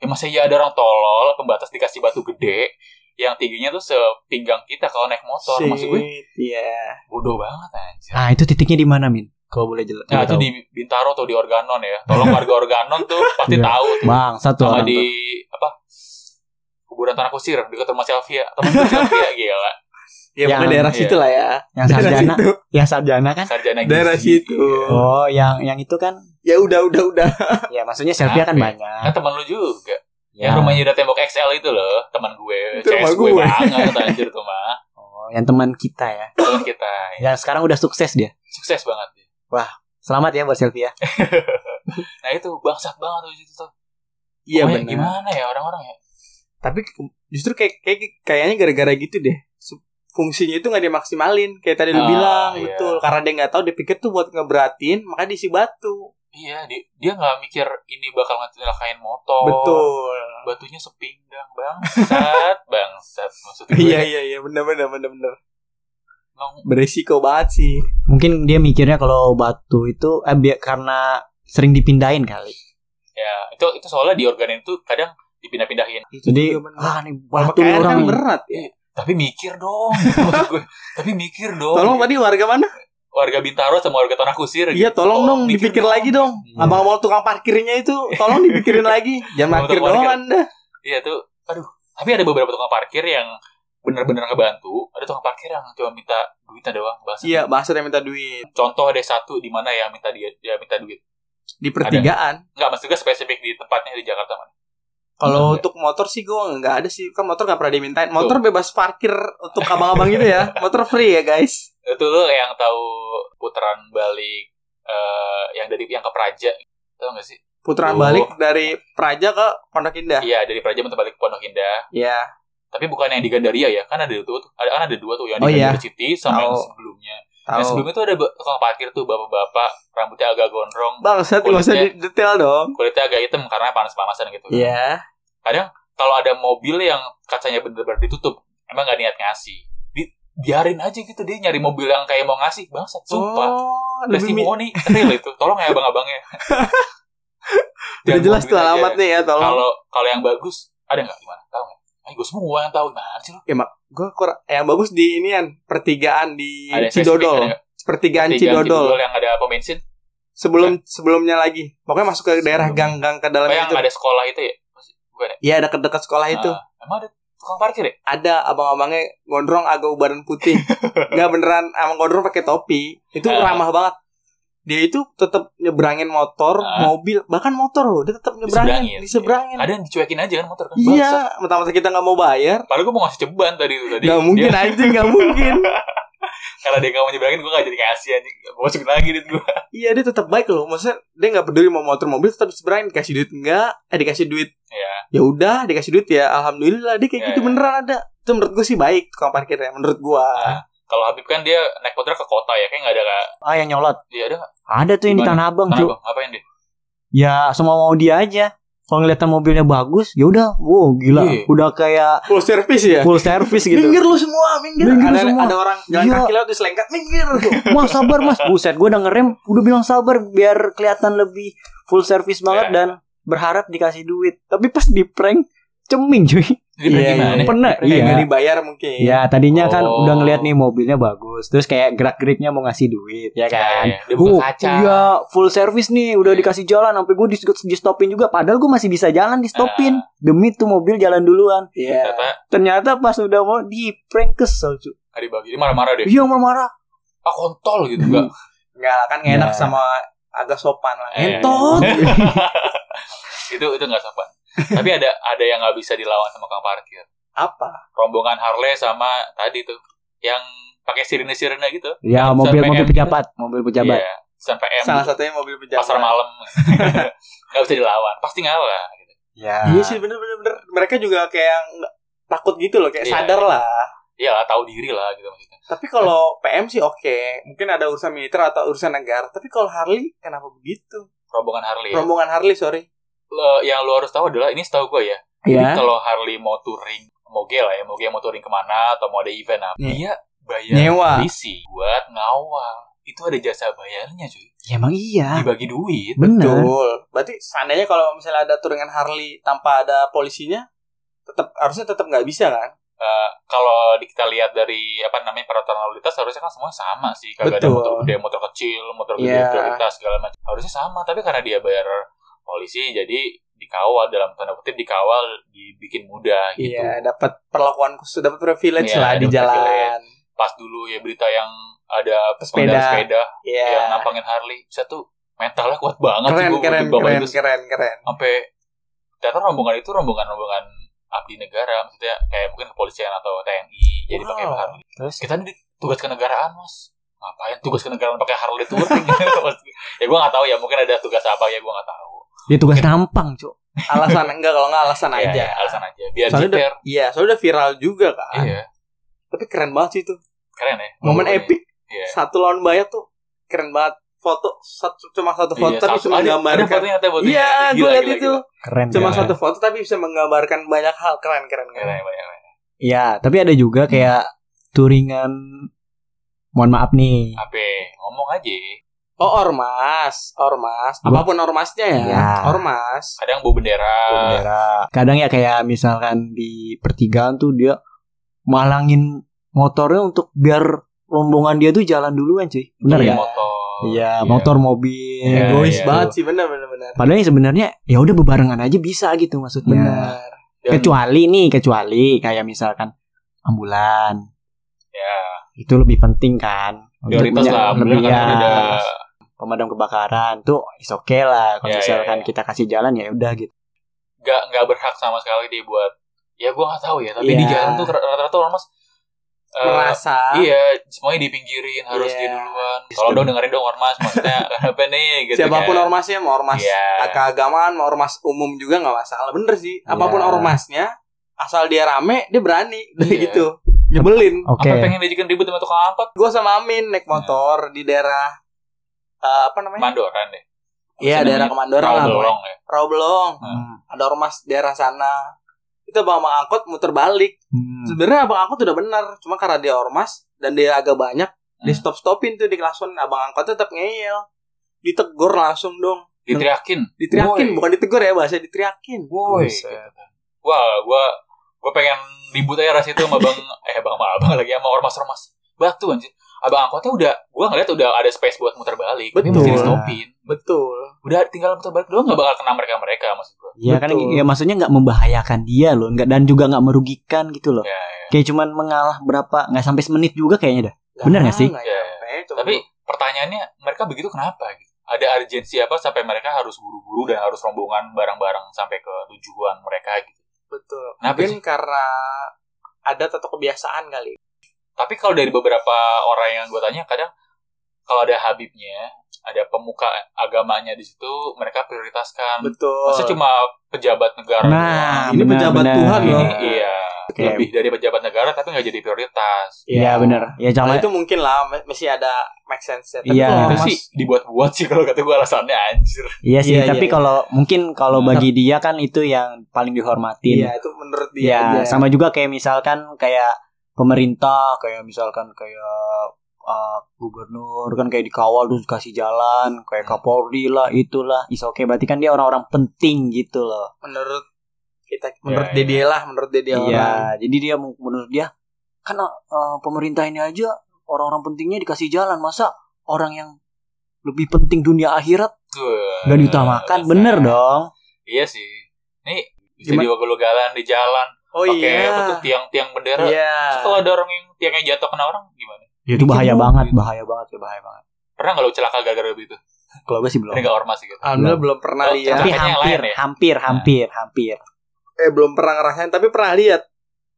S1: ya masa ya ada orang tolol pembatas dikasih batu gede yang tingginya tuh sepinggang kita kalau naik motor maksud gue
S2: Iya.
S1: bodoh banget anjir
S2: Ah,
S3: Nah, itu titiknya di mana, Min? Kalau boleh jelas.
S1: Nah itu di Bintaro atau di Organon ya Tolong warga Organon tuh pasti
S3: Iya.
S1: tahu tuh
S3: Bang, satu
S1: Sama
S3: orang.
S1: di apa kuburan tanah kusir dekat rumah Sylvia teman gue Sylvia gila
S2: Ya,
S3: Yang-
S2: pokoknya daerah
S1: iya.
S2: situ lah ya.
S3: Yang sarjana, yang sarjana kan?
S1: sarjana gizi
S2: Daerah situ.
S1: Iya.
S3: Oh, yang yang itu kan?
S2: Ya udah udah udah.
S3: Ya, maksudnya Sylvia kan
S1: Apa?
S3: banyak.
S1: kan teman lu juga
S3: Ya.
S1: yang rumahnya udah tembok XL itu loh teman gue
S2: Itu rumah
S1: CS gue
S2: gue.
S1: banget anjir tuh mah
S3: Oh, yang teman kita ya.
S1: teman kita ya.
S3: Yang sekarang udah sukses dia.
S1: sukses banget dia.
S3: Selamat ya buat Sylvia.
S1: nah itu bangsat banget tuh situ tuh
S2: Iya
S1: Pokoknya
S2: benar.
S1: gimana ya orang-orang ya
S2: Tapi ke- justru kayak, kayak kayaknya gara-gara gitu deh. Su- Fungsinya itu nggak dimaksimalin kayak tadi lu
S1: Ah,
S2: bilang
S1: iya.
S2: betul karena dia nggak tahu dia pikir tuh buat ngeberatin makanya diisi batu
S1: iya dia dia nggak mikir ini bakal ngecelakain
S2: Oh.
S1: motor
S2: betul
S1: batunya sepinggang bangsat bangsat maksud gue
S2: iya iya iya benar benar benar benar
S1: emang
S2: beresiko banget sih
S3: Mungkin dia mikirnya kalau batu itu eh, bi- karena sering dipindahin kali.
S1: ya itu itu soalnya di organ itu kadang dipindah-pindahin
S2: Itu
S3: Jadi,
S2: juga benar.
S3: ah nih batu nih
S2: Pakaian
S3: orang.
S2: kan berat ya.
S1: tapi mikir dong maksud gue tapi mikir dong
S2: Tolong tadi warga mana?
S1: warga Bintaro sama warga Tanah Kusir gitu.
S2: Iya, tolong dong
S1: mikir
S2: dipikir lagi dong.
S3: Iya.
S2: Abang mau tukang parkirnya itu tolong dipikirin lagi.
S1: Mau
S2: Jangan parkir
S1: tukang
S2: doang
S1: parkir.
S2: Anda.
S1: Iya tuh, aduh. Tapi ada beberapa tukang parkir yang benar-benar ngebantu. Ada tukang parkir yang cuma minta duitnya doang. Bahasa.
S2: Iya, bahasa yang minta duit
S1: Contoh ada satu di mana yang minta dia dia minta duit.
S2: di pertigaan.
S1: Enggak, maksudnya spesifik di tempatnya di Jakarta mana?
S2: Kalau
S1: Ada.
S2: untuk motor sih gua nggak ada sih. Kan motor nggak pernah dimintain. Motor bebas parkir untuk abang-abang gitu ya. Motor free ya, guys.
S1: Itu lo yang tahu putaran balik eh, yang dari yang ke Praja. Tahu gak sih? Oh.
S2: Putaran balik dari Praja ke Pondok Indah.
S1: Iya, dari Praja minta balik ke Pondok Indah.
S2: Iya.
S1: Tapi bukan yang di Gandaria ya, kan ada dua tuh. Ada kan ada dua tuh yang di
S2: Oh, iya.
S1: Gandaria City sama yang
S2: Tahu.
S1: sebelumnya. Yang
S2: Tahu.
S1: sebelumnya tuh ada ba- tukang parkir tuh bapak-bapak rambutnya agak gondrong,
S2: Bang, saya nggak usah
S1: Kulitnya.
S2: di- detail dong.
S1: kulitnya agak hitam karena panas-panasan gitu.
S2: Iya.
S1: kalau ada mobil yang kacanya bener-bener ditutup emang nggak niat ngasih Di- biarin aja gitu dia nyari mobil yang kayak mau ngasih bangsat sumpah
S2: Oh, lebih mi-
S1: testimoni real itu tolong ya abang-abangnya
S2: udah
S1: Jangan
S2: jelas
S1: mobil
S2: tuh
S1: aja.
S2: alamatnya ya, tolong.
S1: kalau kalau yang bagus ada nggak gimana tahu nggak Ayo gue semua yang tahu gimana sih lu
S2: gue kurang yang bagus di ini kan pertigaan di
S1: ada yang spesifik,
S2: Cidodol
S1: ada
S2: pertigaan
S1: tiga
S2: Cidodol
S1: yang ada pom bensin
S2: sebelum sebelumnya lagi pokoknya masuk ke daerah
S1: Sebelum.
S2: gang-gang ke
S1: oh,
S2: dalam
S1: yang
S2: itu
S1: ada sekolah itu ya
S2: iya ada dekat sekolah itu
S1: Ah, emang ada tukang parkir ya
S2: ada abang-abangnya gondrong agak ubaran putih nggak beneran abang gondrong pakai topi itu
S1: Ah.
S2: ramah banget dia itu tetap nyebrangin motor
S1: Ah.
S2: mobil bahkan motor loh dia tetap nyebrangin
S1: Diseberangin.
S2: diseberangin
S1: ada yang dicuekin aja kan motor kan Bangsat.
S2: iya pertama kita nggak mau bayar
S1: padahal gue mau ngasih ceban tadi itu tadi
S2: nggak
S1: Dia-
S2: mungkin aja nggak mungkin
S1: karena dia nggak mau nyebrangin gue nggak jadi ngasih aja gue masukin lagi duit gue
S2: Iya dia tetap baik loh. Maksudnya dia nggak peduli mau motor mobil tetap seberain dikasih duit enggak? Eh dikasih duit.
S1: Iya.
S2: Ya udah dikasih duit ya. Alhamdulillah dia kayak
S1: Iya,
S2: gitu
S1: iya.
S2: beneran ada. Itu menurut gue sih baik tukang parkirnya. Menurut gua.
S1: Ah. kalau Habib kan dia naik motor ke kota ya kayak nggak ada nggak
S3: Ah, yang nyolot.
S1: dia ada nggak
S3: Ada tuh yang di
S1: Gimana?
S3: Tanah Abang,
S1: Tanah
S3: Cuk.
S1: Abang, ngapain deh
S3: Ya, semua mau dia aja. Kalau ngeliatan mobilnya bagus, ya udah, wow, gila.
S1: Iya.
S3: Udah kayak
S2: Full service ya.
S3: full service gitu.
S2: Minggir lu semua, minggir.
S3: Minggir
S2: ada,
S3: semua.
S2: ada orang jalan
S3: Iya.
S2: kaki lewat diselengkat, minggir.
S3: Wah sabar mas Buset gue udah ngerem Udah bilang sabar Biar kelihatan lebih Full service
S1: Iya.
S3: banget Dan berharap dikasih duit Tapi pas di prank Ceming cuy
S1: dia pergi gimana
S3: Pernah
S2: Iya. Kayak
S3: Iya
S2: nggak dibayar mungkin.
S3: Ya tadinya kan
S1: Oh.
S3: udah ngeliat nih mobilnya bagus Terus kayak gerak-geriknya mau ngasih duit Ya kan
S1: Iya, iya. Dia buka
S3: Oh,
S1: kaca. Iya.
S3: Iya full service nih Udah dikasih jalan Sampai gue di, di stopin juga Padahal gue masih bisa jalan di stopin
S1: Iya.
S3: Demi tuh mobil jalan duluan
S2: Iya.
S1: ternyata
S3: Ternyata pas udah mau di prank kesel cuy
S1: nggak dibagi dia marah-marah deh
S3: Iya marah-marah
S1: ah kontol gitu enggak
S2: Enggak kan nggak enak
S3: Iya.
S2: sama agak sopan lah.
S1: Iya.
S2: Entot.
S1: itu itu nggak sopan tapi ada ada yang nggak bisa dilawan sama kang parkir
S2: Apa?
S1: rombongan Harley sama tadi tuh yang pakai sirine sirine gitu
S3: Ya mobil-mobil
S1: PM.
S3: pejabat Mobil pejabat
S1: Iya, sampai M
S2: Salah satunya mobil pejabat.
S1: pasar malam nggak bisa dilawan pasti ngalah gitu.
S3: Ya
S2: Iya sih bener-bener. bener. Mereka juga kayak nggak- takut gitu loh, kayak
S1: Iya.
S2: sadar lah.
S1: Iya lah, tahu diri lah gitu maksudnya.
S2: Tapi kalau PM sih oke, mungkin ada urusan militer atau urusan negara. Tapi kalau Harley kenapa begitu?
S1: Rombongan Harley.
S2: Rombongan Harley sorry.
S1: Le- yang lu harus tahu adalah ini setahu gue ya. Jadi
S3: Iya
S1: kalau Harley mau touring, moge lah ya, moge mau touring kemana atau mau ada event apa,
S2: Hmm.
S1: dia bayar
S2: Nyewa.
S1: polisi buat ngawal. itu ada jasa bayarnya cuy
S3: Ya emang
S2: Ah.
S3: iya.
S1: dibagi duit
S3: Bener.
S2: Betul. Berarti seandainya kalau misalnya ada turingan Harley tanpa ada polisinya, tetap harusnya tetap nggak bisa kan?
S1: Eh, kalau di- kita lihat dari apa namanya peraturan lalu lintas harusnya kan semua sama sih kagak ada
S2: Betul.
S1: motor gede motor kecil motor gede
S2: Iya.
S1: motor lintas segala macam harusnya sama tapi karena dia bayar polisi jadi dikawal dalam tanda kutip dikawal dibikin mudah gitu
S2: Iya, dapat perlakuan khusus, dapat privilege
S1: Iya,
S2: lah di
S1: dapat
S2: jalan.
S1: privilege. pas dulu ya berita yang ada
S2: Pesepeda.
S1: pengendara sepeda
S2: Iya.
S1: yang nampangin Harley satu mentalnya kuat banget
S2: Keren,
S1: gua
S2: keren,
S1: waktu bawa
S2: keren,
S1: itu
S2: keren, keren.
S1: sampai ternyata rombongan itu rombongan-rombongan abdi negara maksudnya kayak mungkin kepolisian atau TNI jadi pakai
S2: Wow.
S1: Harley
S3: Terus
S1: kita ini tugas kenegaraan mas ngapain tugas kenegaraan pakai Harley touring ya gue nggak tahu ya mungkin ada tugas apa ya gue nggak tahu
S3: dia tugas nampang, Cuk.
S2: Alasan enggak kalau enggak alasan
S1: Ya,
S2: aja.
S1: ya, alasan aja biar
S2: Soalnya udah-
S1: jiper
S2: Iya, soalnya udah viral juga kan.
S1: iya
S2: Tapi keren banget sih itu.
S1: keren ya
S2: Momen
S1: Pokoknya.
S2: epic
S1: iya
S2: satu lawan banyak tuh keren banget. Foto satu, cuma satu foto
S1: Iya,
S2: tapi
S1: satu- ada-
S2: cuma
S1: ada
S2: gambarkan.
S1: fotonya ada fotonya
S2: Iya, gue
S1: Gila,
S2: liat
S1: gila,
S2: itu.
S1: gila.
S3: Keren.
S2: Cuma
S1: Iya.
S2: satu foto tapi bisa menggambarkan banyak hal keren keren
S1: Keren,
S2: keren.
S1: keren, keren.
S3: Iya, tapi ada juga kayak touringan mohon maaf nih.
S1: Apa? ngomong aja
S2: Oh ormas, ormas,
S3: Gua-
S2: apapun ormasnya ya,
S1: Iya.
S3: Ya.
S2: ormas.
S1: kadang bawa bendera,
S3: Bendera. Kadang ya kayak misalkan di pertigaan tuh dia malangin motornya untuk biar rombongan dia tuh jalan duluan, cuy. Benar
S1: beli
S3: ya?
S1: motor
S3: Iya, motor, mobil.
S1: Iya,
S2: Egois
S1: iya.
S2: banget sih benar benar benar.
S3: Padahal yang sebenarnya ya udah bebarengan aja bisa gitu
S1: Iya.
S3: maksudnya.
S2: Benar.
S1: Dan-
S3: Kecuali nih, kecuali kayak misalkan ambulan.
S1: ya
S3: Itu lebih penting kan. Untuk
S1: prioritas
S3: punya-
S1: lah
S3: lebih
S1: bener kan
S3: ya.
S1: ada
S3: pemadam kebakaran tuh is oke lah kalau
S1: Ya, ya,
S3: misalkan
S1: ya.
S3: kita kasih jalan ya udah gitu
S1: nggak nggak berhak sama sekali dia buat ya gue nggak tahu ya tapi di
S3: Iya.
S1: jalan tuh rata-rata ormas eh,
S2: Merasa.
S1: Iya, semuanya dipinggirin harus
S2: Iya.
S1: dia duluan. Kalau dong dengerin dong ormas maksudnya apa nih gitu
S2: Siapapun
S1: kan.
S2: ormasnya, mau ormas
S1: Iya.
S2: keagamaan, mau ormas umum juga nggak masalah. Bener sih, apapun
S3: Iya.
S2: ormasnya, asal dia rame, dia berani,
S1: Iya. Oh.
S2: gitu. Nyebelin.
S3: oke
S1: Apa pengen diajakin ribut sama tukang angkot?
S2: Gue sama Amin
S1: Iya.
S2: naik motor di daerah eh, apa namanya?
S1: Mandoran kan deh. Apa sih
S2: Iya, daerah
S1: namanya?
S2: Kemandoran lah. pokoknya.
S1: Rawabelong ya.
S2: Rawabelong.
S3: Hmm.
S2: Ada ormas daerah sana. Itu bawa sama angkot muter balik.
S3: Hmm.
S2: Sebenarnya abang angkot udah benar, cuma karena dia ormas dan dia agak banyak, di
S3: Hmm.
S2: stop stopin tuh di klakson abang angkot tetap ngeyel. Ditegur langsung dong.
S1: Diteriakin.
S2: Diteriakin,
S1: Woi.
S2: bukan ditegur ya bahasa diteriakin.
S1: Woi.
S3: Buset.
S1: gitu. Wah, gua gua pengen ribut aja ras itu sama Bang eh Bang sama Abang lagi sama ormas-ormas. Batu anjir. Abang angkotnya udah gua ngeliat udah ada space buat muter balik. Tapi
S2: Betul.
S1: masih di stopin.
S2: Betul.
S1: Udah tinggal muter balik doang gak bakal kena mereka-mereka maksud gua.
S3: ya kan
S2: Betul.
S3: ya maksudnya nggak membahayakan dia loh nggak dan juga nggak merugikan gitu loh
S1: Ya, ya.
S3: kayak cuman mengalah berapa nggak sampai semenit juga kayaknya dah Bener nggak sih?
S2: Nggak
S1: Iya.
S2: nyampe, cuma-
S1: Tapi pertanyaannya mereka begitu kenapa gitu? Ada urgensi apa sampai mereka harus buru-buru dan harus rombongan bareng-bareng sampai ke tujuan mereka gitu.
S2: betul.
S1: Kenapa
S2: Mungkin
S1: sih? Hmm.
S2: karena ada atau kebiasaan kali.
S1: Tapi kalau dari beberapa orang yang gue tanya kadang kalau ada Habibnya, ada pemuka agamanya di situ, mereka prioritaskan.
S2: Betul.
S1: Masa cuma pejabat negara
S3: nah
S2: Ini
S3: benar,
S2: pejabat
S3: benar.
S2: Tuhan
S1: doang?
S2: loh.
S1: Ini iya,
S3: Oke.
S1: lebih dari pejabat negara tapi nggak jadi prioritas.
S3: Iya benar
S2: Kalau
S3: ya sama
S2: Nah,
S1: Nah,
S2: itu mungkin lah me- masih ada make sense ya. Tapi
S3: Iya.
S2: kalau
S1: Itu
S2: ormas-
S1: sih dibuat-buat sih kalau kata gue alasannya anjir.
S3: iya sih
S2: Iya,
S3: tapi
S2: iya.
S3: kalau mungkin kalau
S1: Nah,
S3: bagi dia kan itu yang paling dihormatin
S2: Iya, itu menurut dia
S3: Iya,
S2: aja.
S3: sama juga kayak misalkan kayak pemerintah, kayak misalkan kayak uh, gubernur kan kayak dikawal terus kasih jalan, kayak
S1: Iya.
S3: Kapolri lah, itulah, is oke. Berarti kan dia orang-orang penting gitu loh.
S2: menurut kita menurut
S1: iya.
S2: dia dia lah, menurut dia dia orang.
S3: Iya, jadi dia mu- menurut dia kan uh, pemerintah ini aja orang-orang pentingnya dikasih jalan, masa orang yang lebih penting dunia akhirat
S1: Duh,
S3: nggak diutamakan,
S1: bisa.
S3: bener dong.
S1: Iya sih. Nih bisa
S2: Gimana?
S1: diwagel-wagalan di jalan.
S2: Oh
S1: pakai
S2: iya.
S1: apa tuh tiang-tiang bendera.
S2: Iya.
S1: Terus kalau ada orang yang tiangnya jatuh kena orang gimana?
S3: Itu bahaya
S1: dong,
S3: banget,
S1: gitu.
S3: bahaya banget, ya bahaya banget.
S1: Pernah nggak lo celaka gara-gara begitu?
S3: Kalau gue sih belum.
S1: Ada nggak ormas gitu?
S2: Alhamdulillah belum pernah
S1: Oh,
S2: lihat.
S1: Makanya
S3: Tapi
S1: yang
S3: hampir,
S1: lain ya?
S3: hampir, hampir, hampir.
S2: Eh belum pernah ngerasain tapi pernah lihat.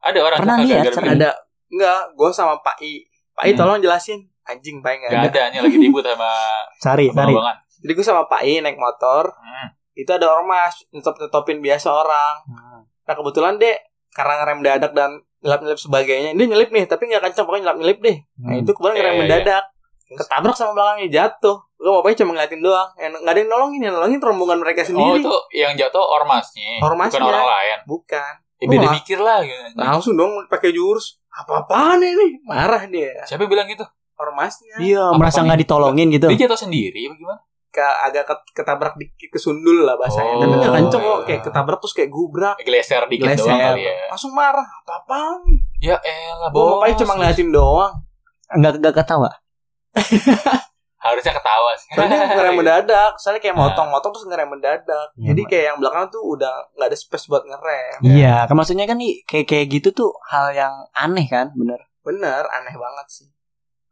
S1: Ada orang gitu.
S3: Pernah
S1: celaka
S3: lihat,
S1: gara-gara
S3: pernah
S1: begitu.
S2: Ada enggak? Gue sama Pak I. Pak I
S1: Hmm.
S2: tolong jelasin. Anjing Pak I enggak
S1: Nggak
S2: ada. Iya,
S1: ada, hanya lagi ribut sama
S3: Sari, sari.
S1: abang-abangan.
S2: Jadi gue sama Pak I naik motor.
S1: Hmm.
S2: Itu ada ormas nyetop-nyetopin biasa orang.
S3: Hmm.
S2: Nah kebetulan deh karena ngerem dadak dan nyelip-nyelip sebagainya. Dia nyelip nih tapi nggak kencang pokoknya nyelip-nyelip deh. Nah
S3: Hmm.
S2: itu kebetulan
S1: Iya,
S2: ngerem
S1: iya, iya.
S2: mendadak. Ketabrak sama belakangnya jatuh. Gue bapaknya cuma ngeliatin doang. Yang nggak ada yang nolongin, yang nolongin rombongan mereka
S1: Oh
S2: sendiri.
S1: itu yang jatuh ormasnya,
S2: Ormasnya.
S1: bukan orang lain.
S2: Bukan.
S1: Ya, beda
S2: Wah. Ah.
S1: mikir lah. Gitu.
S2: Langsung dong pakai jurus. Apa-apaan ini? Marah dia.
S1: Siapa yang bilang gitu?
S2: ormasnya
S3: Iya,
S1: Apa
S3: merasa
S1: nih?
S3: nggak ditolongin gitu.
S1: Dia jatuh sendiri apa gimana?
S2: ke agak ke- ketabrak dikit kesundul lah bahasanya. Tapi
S1: Oh,
S2: nggak kenceng kok
S1: iya.
S2: kayak ketabrak terus kayak gubrak.
S1: Geleser dikit
S2: Geleser.
S1: doang kali ya.
S2: Langsung marah. Apa-apaan?
S1: Ya elah,
S2: Gue
S3: Oh,
S1: bos.
S2: ngapain cuma ngeliatin doang.
S3: Nggak nggak ketawa.
S1: Harusnya ketawa sih.
S2: Soalnya ngerem mendadak. Soalnya kayak
S1: Nah.
S2: motong-motong terus ngerem mendadak.
S3: Iya,
S2: Jadi
S3: Mak.
S2: kayak yang belakang tuh udah nggak ada space buat ngerem.
S3: Iya, kan maksudnya kan nih kayak kayak gitu tuh hal yang aneh kan, bener.
S2: Bener, aneh banget sih.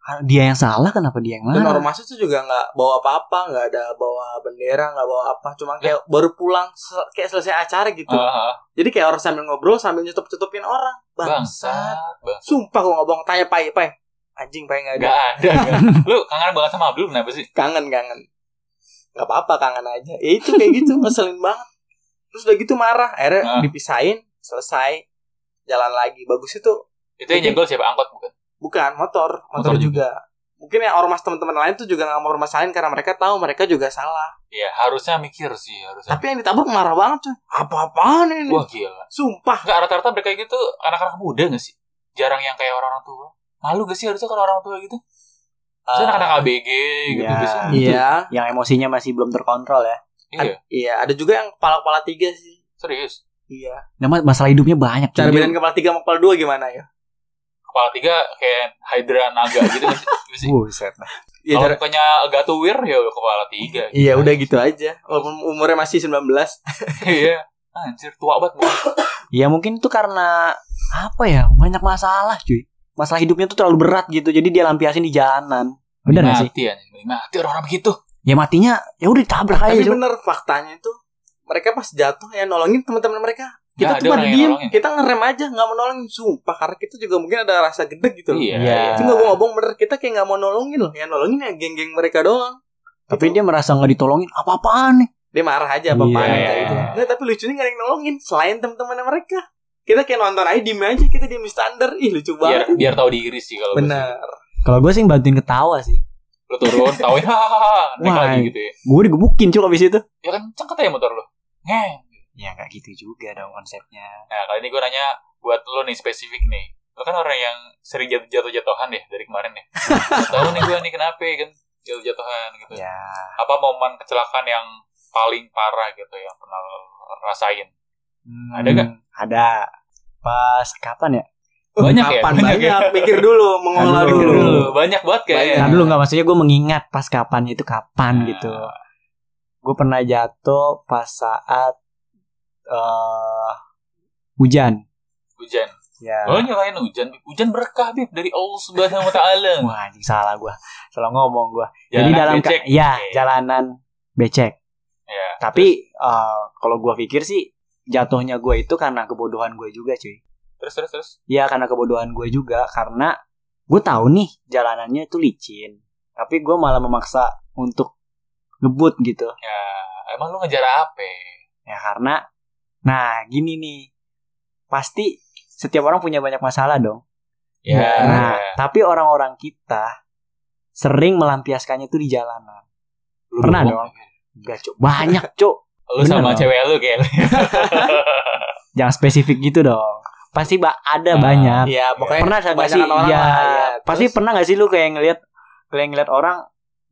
S3: Hal- Dia yang salah kenapa dia yang
S2: Dan
S3: marah?
S2: ormasnya tuh juga nggak bawa apa-apa, nggak ada bawa bendera, nggak bawa apa. Cuma kayak baru pulang sel- kayak selesai acara gitu.
S3: Ah.
S1: Heeh,
S2: Jadi kayak orang sambil ngobrol sambil nyetup-nyetupin orang. Bangsat.
S1: Bangsat. Bang.
S2: Sumpah gue ngobong tanya Pai, Pai. Anjing Pai nggak ada.
S1: Gak ada. nggak. Lu kangen banget sama Abdul kenapa sih?
S2: kangen kangen nggak apa-apa kangen aja ya itu kayak gitu ngeselin banget terus udah gitu marah
S1: Ah.
S2: akhirnya dipisahin selesai jalan lagi bagus itu
S1: Itu yang
S2: Iya.
S1: jenggol siapa? Angkot bukan?
S2: bukan motor motor,
S1: Motor
S2: juga. mungkin ya ormas teman-teman lain tuh juga nggak mau permasalahin karena mereka tahu mereka juga salah
S1: Ya harusnya mikir sih harusnya.
S2: tapi yang ditabrak marah banget tuh apa-apaan ini
S1: Wah gila.
S2: sumpah
S1: Enggak rata-rata mereka gitu anak-anak muda gak sih? Jarang yang kayak orang-orang tua. Malu gak sih harusnya kalau orang tua gitu? Saya anak-anak ABG gitu
S3: ya.
S1: biasanya.
S3: Iya.
S2: Ah. iya
S3: Yang emosinya masih belum terkontrol ya.
S1: Iya,
S2: iya ada juga yang kepala-kepala tiga sih
S1: serius.
S2: iya
S3: Nama Nah, masalah hidupnya banyak.
S2: cara
S3: Jadi-
S2: bedain kepala tiga sama kepala dua gimana ya
S1: Kepala tiga kayak Hydra naga gitu nggak sih? Nggak sih.
S3: Buset.
S2: Iya,
S1: kalau
S2: cara-
S1: mukanya Gatuwir ya udah kepala tiga. gitu.
S2: iya udah gitu aja walaupun umurnya masih 19
S1: Iya. Anjir tua banget mukanya.
S3: Ya mungkin itu karena apa ya? Banyak masalah, cuy. Masalah hidupnya tuh terlalu berat gitu. Jadi dia lampiasin di jalanan. Bener gak sih?
S1: Mati ya, mati orang-orang begitu.
S3: Ya matinya ya udah ditabrak aja.
S2: Nah, Tapi
S3: cuy.
S2: bener faktanya itu mereka pas jatuh ya nolongin teman-teman mereka.
S1: Nggak Nah,
S2: Kita tuh
S1: ada
S2: pada
S1: orang yang
S2: diem,
S1: nolongin.
S2: kita ngerem aja nggak mau nolongin sumpah karena kita juga mungkin ada rasa gede gitu loh.
S1: Iya.
S3: Iya.
S2: Itu nggak gue ngomong bener kita kayak nggak mau nolongin loh. Yang nolongin ya geng-geng mereka doang. Gitu.
S3: Tapi dia merasa nggak ditolongin. Apa-apaan nih?
S2: Dia marah aja apa apa
S3: Iya.
S2: gitu. Nggak, tapi lucunya nggak ada yang nolongin selain teman-teman mereka. Kita kayak nonton aja diem aja kita diem standar. Ih lucu
S1: Biar
S2: banget.
S1: biar tahu diri sih kalau gue sih.
S2: Bener.
S3: Kalau gue sih bantuin ketawa sih.
S1: Lu turun, tawain hahaha, naik
S3: Wah.
S1: lagi gitu ya.
S3: Gue digebukin cuy abis itu.
S1: Ya kan cengket ya motor lu. Ngeng.
S3: Ya nggak gitu juga dong konsepnya.
S1: Nah, kali ini gue nanya buat lo nih spesifik nih. Lo kan orang yang sering jatuh-jatuh-jatuhan deh dari kemarin ya. Nggak Tahu nih gue nih kenapa ya kan jatuh-jatuhan gitu.
S3: Ya.
S1: Apa momen kecelakaan yang paling parah gitu yang pernah lo rasain?
S3: Hmm,
S1: Ada nggak?
S3: Ada. Pas kapan ya?
S1: Banyak ya?
S2: Uh, Kapan?
S1: Banyak
S2: Banyak,
S1: ya?
S2: Mikir dulu, mengolah
S3: Aduh.
S2: dulu.
S1: Dulu, banyak banget kayaknya.
S3: Nah, dulu nggak maksudnya gue mengingat pas kapan itu kapan
S1: Nah.
S3: gitu. Gue pernah jatuh pas saat eh hujan.
S1: Hujan.
S3: Ya.
S1: Lo nyalain hujan. Hujan berkah, Bib. Dari Allah Subhanahu Wa Ta'ala.
S3: Wah, anjing salah gua. Salah ngomong gua. Jadi
S1: Jalanan
S3: dalam ka-
S1: becek.
S3: ya,
S1: Oke.
S3: jalanan becek.
S1: Ya.
S3: Tapi eh, kalau gua pikir sih jatuhnya gua itu karena kebodohan gue juga, cuy.
S1: Terus, terus, terus.
S3: Ya karena kebodohan gue juga karena gue tahu nih jalanannya itu licin. Tapi gua malah memaksa untuk ngebut gitu.
S1: Ya, emang lu ngejar apa?
S3: Ya karena nah gini nih. Pasti setiap orang punya banyak masalah dong.
S1: Ya.
S3: Nah, tapi orang-orang kita sering melampiaskannya itu di jalanan.
S1: Lu
S3: pernah
S1: dong.
S3: Enggak, Cuk. Banyak, Cuk.
S1: Lu
S3: Bener
S1: sama
S3: dong.
S1: cewek lu kayaknya.
S3: Jangan spesifik gitu dong. Pasti ba-
S1: Ah,
S3: ada banyak.
S2: Iya, pokoknya
S3: Pernah ada nggak sih?
S2: kebanyakan orang
S3: Iya.
S2: lah, ya.
S3: Pasti
S2: Terus?
S3: pernah nggak sih lu kayak ngelihat kayak ngelihat orang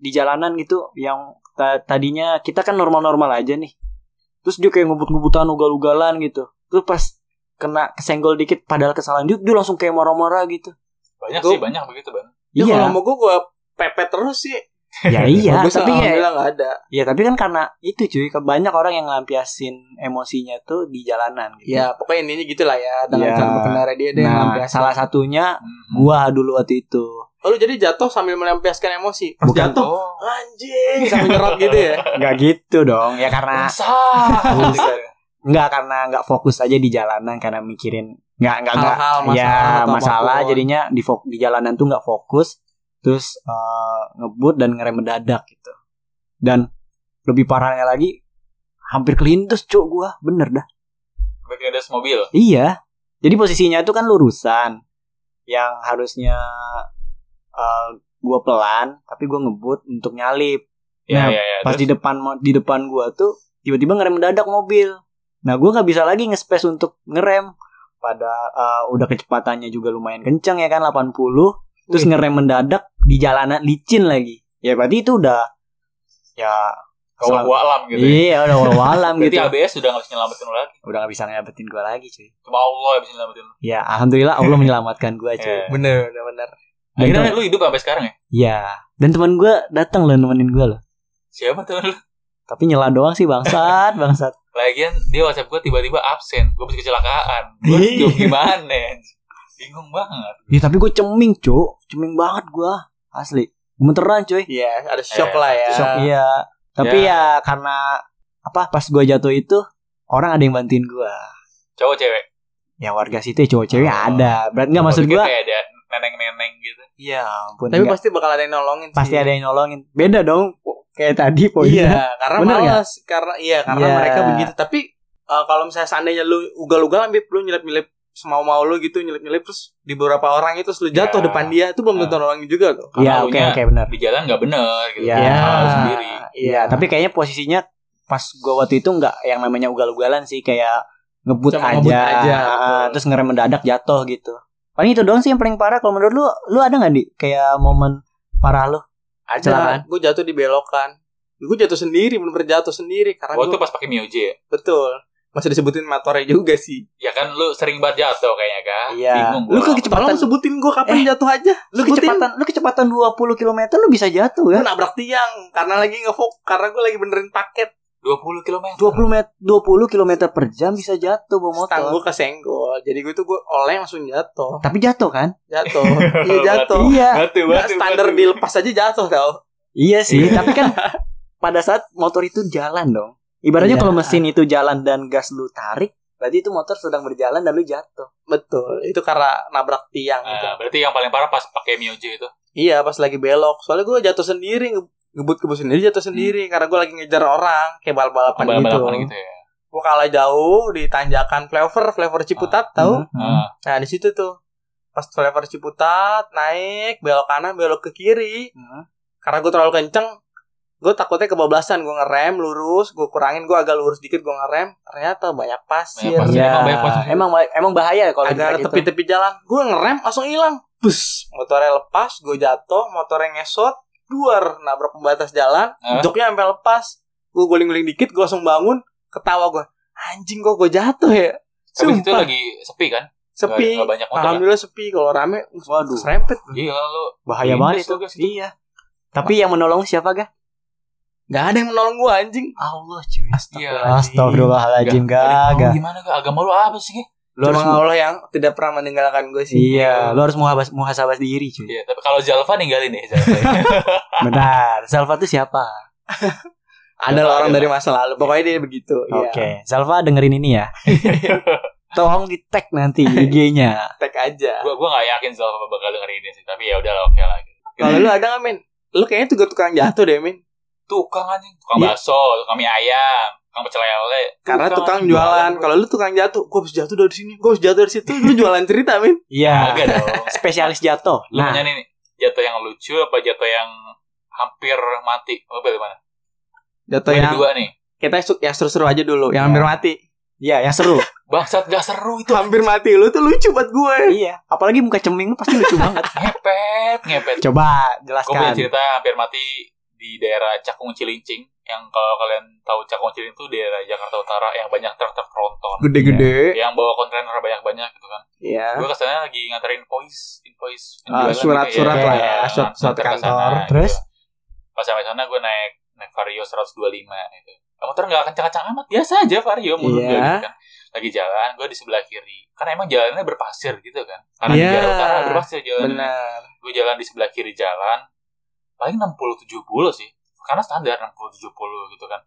S3: di jalanan gitu yang ta- tadinya kita kan normal-normal aja nih. Terus dia kayak ngebut-ngebutan ugal-ugalan gitu. Terus pas kena kesenggol dikit padahal kesalahan dia, dia langsung kayak marah-marah gitu.
S1: Banyak
S2: Gua-
S1: sih, banyak begitu, Bang.
S2: Ya,
S3: iya,
S2: kalau mau gue, gue pepet terus sih.
S3: ya iya,
S2: Bagus,
S3: tapi ya,
S2: alhamdulillah nggak ada.
S3: ya tapi kan karena itu cuy, ke- banyak orang yang ngelampiasin emosinya tuh di jalanan gitu.
S2: Ya pokoknya intinya gitu lah ya Dengan
S3: Ya.
S2: cara berkendara dia Dia yang
S3: Nah,
S2: melampiaskan
S3: salah satunya
S1: Hmm.
S3: gua dulu waktu itu.
S2: Oh lu jadi jatuh sambil melampiaskan emosi Pas
S3: Bukan.
S2: jatuh
S1: Oh.
S2: Anjing Sambil nyerot gitu ya
S3: Enggak gitu dong. Ya karena
S2: Oh.
S1: Bangsat.
S3: Enggak karena enggak fokus aja di jalanan karena mikirin enggak enggak enggak
S2: Hal-hal masalah
S3: ya
S2: atau
S3: masalah
S2: apapun.
S3: jadinya di fok- di jalanan tuh enggak fokus terus eh, ngebut dan ngerem mendadak gitu. Dan lebih parahnya lagi hampir kelindes cuk gua, bener dah.
S1: Backlindes mobil.
S3: Iya. Jadi posisinya itu kan lurusan yang harusnya eh, gua pelan tapi gua ngebut untuk nyalip. Nah,
S1: Ya, ya, ya.
S3: pas
S1: Terus,
S3: di depan mo- di depan gua tuh tiba-tiba ngerem mendadak mobil nah gua nggak bisa lagi nge-space untuk ngerem pada eh, udah kecepatannya juga lumayan kenceng ya kan 80
S2: Wih.
S3: terus
S1: Iya.
S3: ngerem mendadak di jalanan licin lagi ya berarti itu udah ya
S1: Kalau
S3: Selam-
S1: gua alam gitu. ya.
S3: iya udah walam
S1: Berarti
S3: gitu
S1: ABS sudah nggak bisa nyelamatin lu lagi.
S3: udah nggak bisa ngedapetin gue lagi cuy
S1: Cuma Allah yang bisa nyelamatin lu.
S3: ya alhamdulillah Allah menyelamatkan gue cuy
S1: Iya.
S2: Bener, bener, bener.
S3: Dan kan-
S1: Akhirnya
S3: temen-
S1: lu hidup sampai sekarang ya?
S3: ya dan teman gue datang loh nemenin gue loh
S1: Siapa temen lu?
S3: tapi nyela doang sih bangsat bangsat
S1: Lagian dia WhatsApp gua tiba-tiba absen. Gua bisa kecelakaan. Gua harus
S3: Iya.
S1: jawab gimana? Bingung banget.
S3: ya tapi gue ceming cuy ceming banget gue asli gemeteran cuy
S2: Iya, ada shock
S1: Eh,
S2: lah ya.
S3: shock iya tapi ya karena apa pas gue jatuh itu orang ada yang bantuin gue
S1: Cowok cewek.
S3: ya warga situ ya cowok cewek
S1: Oh.
S3: ada berarti nggak
S1: Gua
S3: maksud
S1: pikir
S3: gue
S1: kayak ada neneng-neneng gitu.
S2: Iya.
S3: ampun
S2: Tapi
S3: nggak.
S2: pasti bakal ada yang nolongin sih.
S3: pasti ada yang nolongin beda dong kayak tadi
S2: Iya,
S3: poinnya
S2: karena
S3: Bener
S2: malas, karena iya, karena
S3: Iya.
S2: mereka begitu. Tapi eh, kalau misalnya seandainya lu ugal-ugal ambil lu nyelip-nyelip semau-mau lu gitu nyelip-nyelip terus di beberapa orang itu terus lu jatuh
S1: Iya.
S2: depan dia itu belum tentu nolongin juga tuh.
S1: Karena
S3: iya oke
S1: lunya
S3: oke benar
S1: Di jalan nggak bener gitu.
S3: Iya.
S1: Salah lu sendiri.
S3: iya tapi kayaknya posisinya pas gua waktu itu nggak yang namanya ugal-ugalan sih kayak ngebut
S2: Cuma
S3: aja,
S2: ngebut aja,
S3: Ah,
S2: betul.
S3: terus ngerem mendadak jatuh gitu paling itu doang sih yang paling parah kalau menurut lu lu ada nggak di kayak momen parah lu
S2: ada
S3: Kecelakaan.
S2: gue jatuh di belokan. Gue jatuh sendiri, bener-bener jatuh sendiri karena
S1: Waktu
S2: gue
S1: pas pakai Mioje ya?
S2: betul. Masih disebutin motornya juga sih.
S1: Ya kan lu sering banget jatuh kayaknya kan?
S3: Iya.
S1: Bingung
S3: Lu
S1: gua.
S3: kecepatan-
S2: Tolong sebutin gue kapan jatuh aja.
S3: Eh, lu kecepatan lu kecepatan 20 km lu bisa jatuh
S2: gue
S3: ya
S2: nabrak tiang karena lagi ngefok karena gue lagi benerin paket
S1: 20 km.
S3: 20 met 20 km per jam bisa jatuh bawa
S2: stang
S3: motor
S2: gue kesenggol jadi gue tuh gue oleng langsung jatuh
S3: tapi jatuh kan
S2: jatuh iya jatuh
S3: iya
S1: Batu,
S2: Nggak standar dilepas aja jatuh tau
S3: Iya sih,
S1: Iya.
S3: tapi kan pada saat motor itu jalan dong. Ibaratnya
S2: Iya.
S3: kalau mesin itu jalan dan gas lu tarik, berarti itu motor sedang berjalan dan lu jatuh.
S2: betul itu karena nabrak tiang gitu
S1: Nah, berarti yang paling parah pas pakai Mioje itu.
S2: iya pas lagi belok soalnya gue jatuh sendiri nge- ngebut-ngebut sendiri jatuh sendiri
S1: Hmm.
S2: karena gue lagi ngejar orang kayak balap-balapan
S1: Balapan
S2: gitu,
S1: balapan gitu ya.
S2: gue kalah jauh di tanjakan flavor flavor
S3: Ah,
S2: Ciputat tau
S3: hmm.
S1: Nah,
S2: nah di situ tuh pas flavor Ciputat naik belok kanan belok ke kiri
S1: Hmm.
S2: karena gue terlalu kenceng gue takutnya kebablasan gue ngerem lurus gue kurangin gue agak lurus dikit gue ngerem ternyata banyak pasir
S1: Banyak pasir.
S3: Iya.
S1: Emang banyak pasir.
S3: Emang emang bahaya kalau
S2: agak ada
S3: di gitu.
S2: tepi-tepi jalan gue ngerem langsung hilang bus motornya lepas gue jatuh motornya ngesot duar nabrak pembatas jalan
S1: Hah?
S2: joknya sampai lepas gue guling-guling dikit gue langsung bangun ketawa gue anjing kok gue jatuh ya
S1: tapi itu
S2: Sumpah,
S1: lagi sepi kan?
S2: sepi.
S1: Gak, banyak motor. Kan?
S2: Alhamdulillah sepi. Kalau rame,
S3: ya? Waduh.
S2: serempet.
S1: Iya gitu lu.
S3: Bahaya banget
S1: Lindes
S3: itu.
S1: lu, guys, itu.
S3: Iya. Tapi yang menolong siapa gah?
S2: Gak ada yang menolong gue anjing.
S3: Allah cuy.
S1: Iya,
S2: Astagfirullahaladzim.
S3: Astagfirullahaladzim gah,
S1: Gak.
S3: gah.
S1: Gimana gak? Agama lu apa sih? Ge?
S3: Lu harus
S2: Cuma Allah yang tidak pernah meninggalkan gue sih.
S3: Iya, lu harus muhasabah muhasabah diri cuy.
S1: Iya, tapi kalau Jalva ninggalin ya Jalva.
S3: Benar. Salva tuh siapa?
S2: Ada lah orang dari masa lalu. Pokoknya dia begitu. Iya,
S3: Oke, Salva dengerin ini ya. Iya. Tolong di tag nanti IG-nya.
S2: Ya, tag aja.
S1: gua gua gak yakin Jalva bakal denger ini sih, tapi ya udahlah oke lah. gitu.
S2: Kalau lu ada nggak Min? Lu kayaknya juga tukang jatuh deh, Min.
S1: Tukang anjing, tukang
S2: Iya.
S1: bakso, tukang mie ayam, tukang pecel lele.
S2: Karena tukang jualan. Kalau lu tukang jatuh, gua harus jatuh dari sini, gua harus jatuh dari situ. Lu jualan cerita, Min.
S3: Iya.
S2: ya.
S1: Agak dong.
S3: Spesialis jatuh.
S1: Lu
S2: Nah.
S3: Nah.
S1: punya nih jatuh yang lucu apa jatuh yang hampir mati? Lu pilih mana?
S2: Jatuh
S1: Gua ada
S2: yang
S1: dua nih.
S2: kita su- yang seru-seru aja dulu, yang
S3: Ya.
S2: hampir mati.
S3: Iya, yang seru.
S1: Bangsat gak seru itu.
S2: Hampir mati lu tuh lucu buat gue.
S3: iya, apalagi muka ceming lu pasti lucu banget.
S1: Ngepet, ngepet.
S3: Coba
S1: Gue punya
S3: jelaskan.
S1: cerita hampir mati di daerah Cakung Cilincing yang kalau kalian tahu Cakung Cilincing itu daerah Jakarta Utara yang banyak truk-truk tronton
S2: Gede-gede.
S1: yang bawa kontainer banyak-banyak gitu kan.
S2: Iya.
S1: Gue kesana lagi nganterin invoice, invoice
S2: Ah,
S1: penjualan
S2: surat-surat
S1: gitu
S3: lah
S2: ya,
S1: Nah,
S2: surat- surat
S1: nganter ke
S2: kantor.
S1: sana,
S3: Terus?
S1: gitu. Pas sampai sana gue naik naik Vario 125 gitu. Nah, Motor nggak kencang-kencang amat, biasa aja Vario menurut
S2: Iya.
S1: gue gitu kan. Lagi jalan, gue di sebelah kiri. Karena emang jalannya berpasir gitu kan. Karena di
S2: Iya.
S1: Jakarta utara berpasir jalan
S2: Benar.
S1: gue jalan di sebelah kiri jalan paling 60-70 sih karena standar 60-70 gitu kan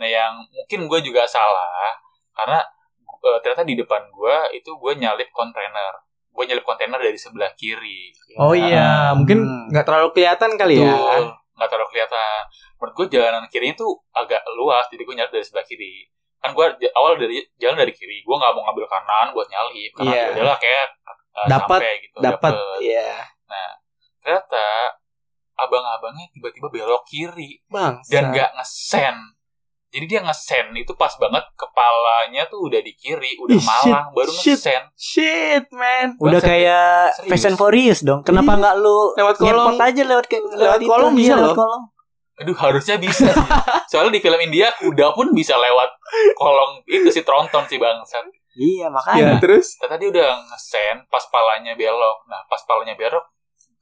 S1: nah yang mungkin gue juga salah karena eh, ternyata di depan gue itu gue nyalip kontainer gue nyalip kontainer dari sebelah kiri Nah,
S2: Oh iya, mungkin
S3: Hmm.
S2: nggak terlalu kelihatan kali ya.
S1: betul nggak terlalu kelihatan menurut gue jalanan kirinya tuh agak luas jadi gue nyalip dari sebelah kiri kan gue j- awal dari jalan dari kiri gue nggak mau ngambil kanan buat nyalip karena
S2: Iya.
S1: yeah. udahlah kayak eh,
S2: Dapat,
S1: sampai gitu
S2: Dapat
S1: dapet.
S2: iya.
S1: ternyata abang-abangnya tiba-tiba belok kiri
S2: Bang.
S1: dan nggak ngesen Jadi dia ngesen itu pas banget kepalanya tuh udah di kiri, udah
S3: Ih,
S1: malang, baru
S2: shit.
S1: ngesen.
S2: Shit, man.
S3: Udah
S1: Bangsat,
S3: kayak
S1: serius.
S3: Fashion for Furious dong. Kenapa nggak lu
S2: Lewat kolong.
S3: nyerpot aja Iya. lewat ke
S2: Lewat
S3: itu,
S2: kolong
S3: iya,
S2: bisa
S3: lewat
S2: loh.
S3: kolong.
S1: Aduh harusnya bisa. sih. Soalnya di film India kuda pun bisa lewat kolong itu si tronton si bangsat.
S3: Iya, makanya.
S2: Ya, terus
S1: Ternyata dia udah ngesen pas palanya belok. Nah pas palanya belok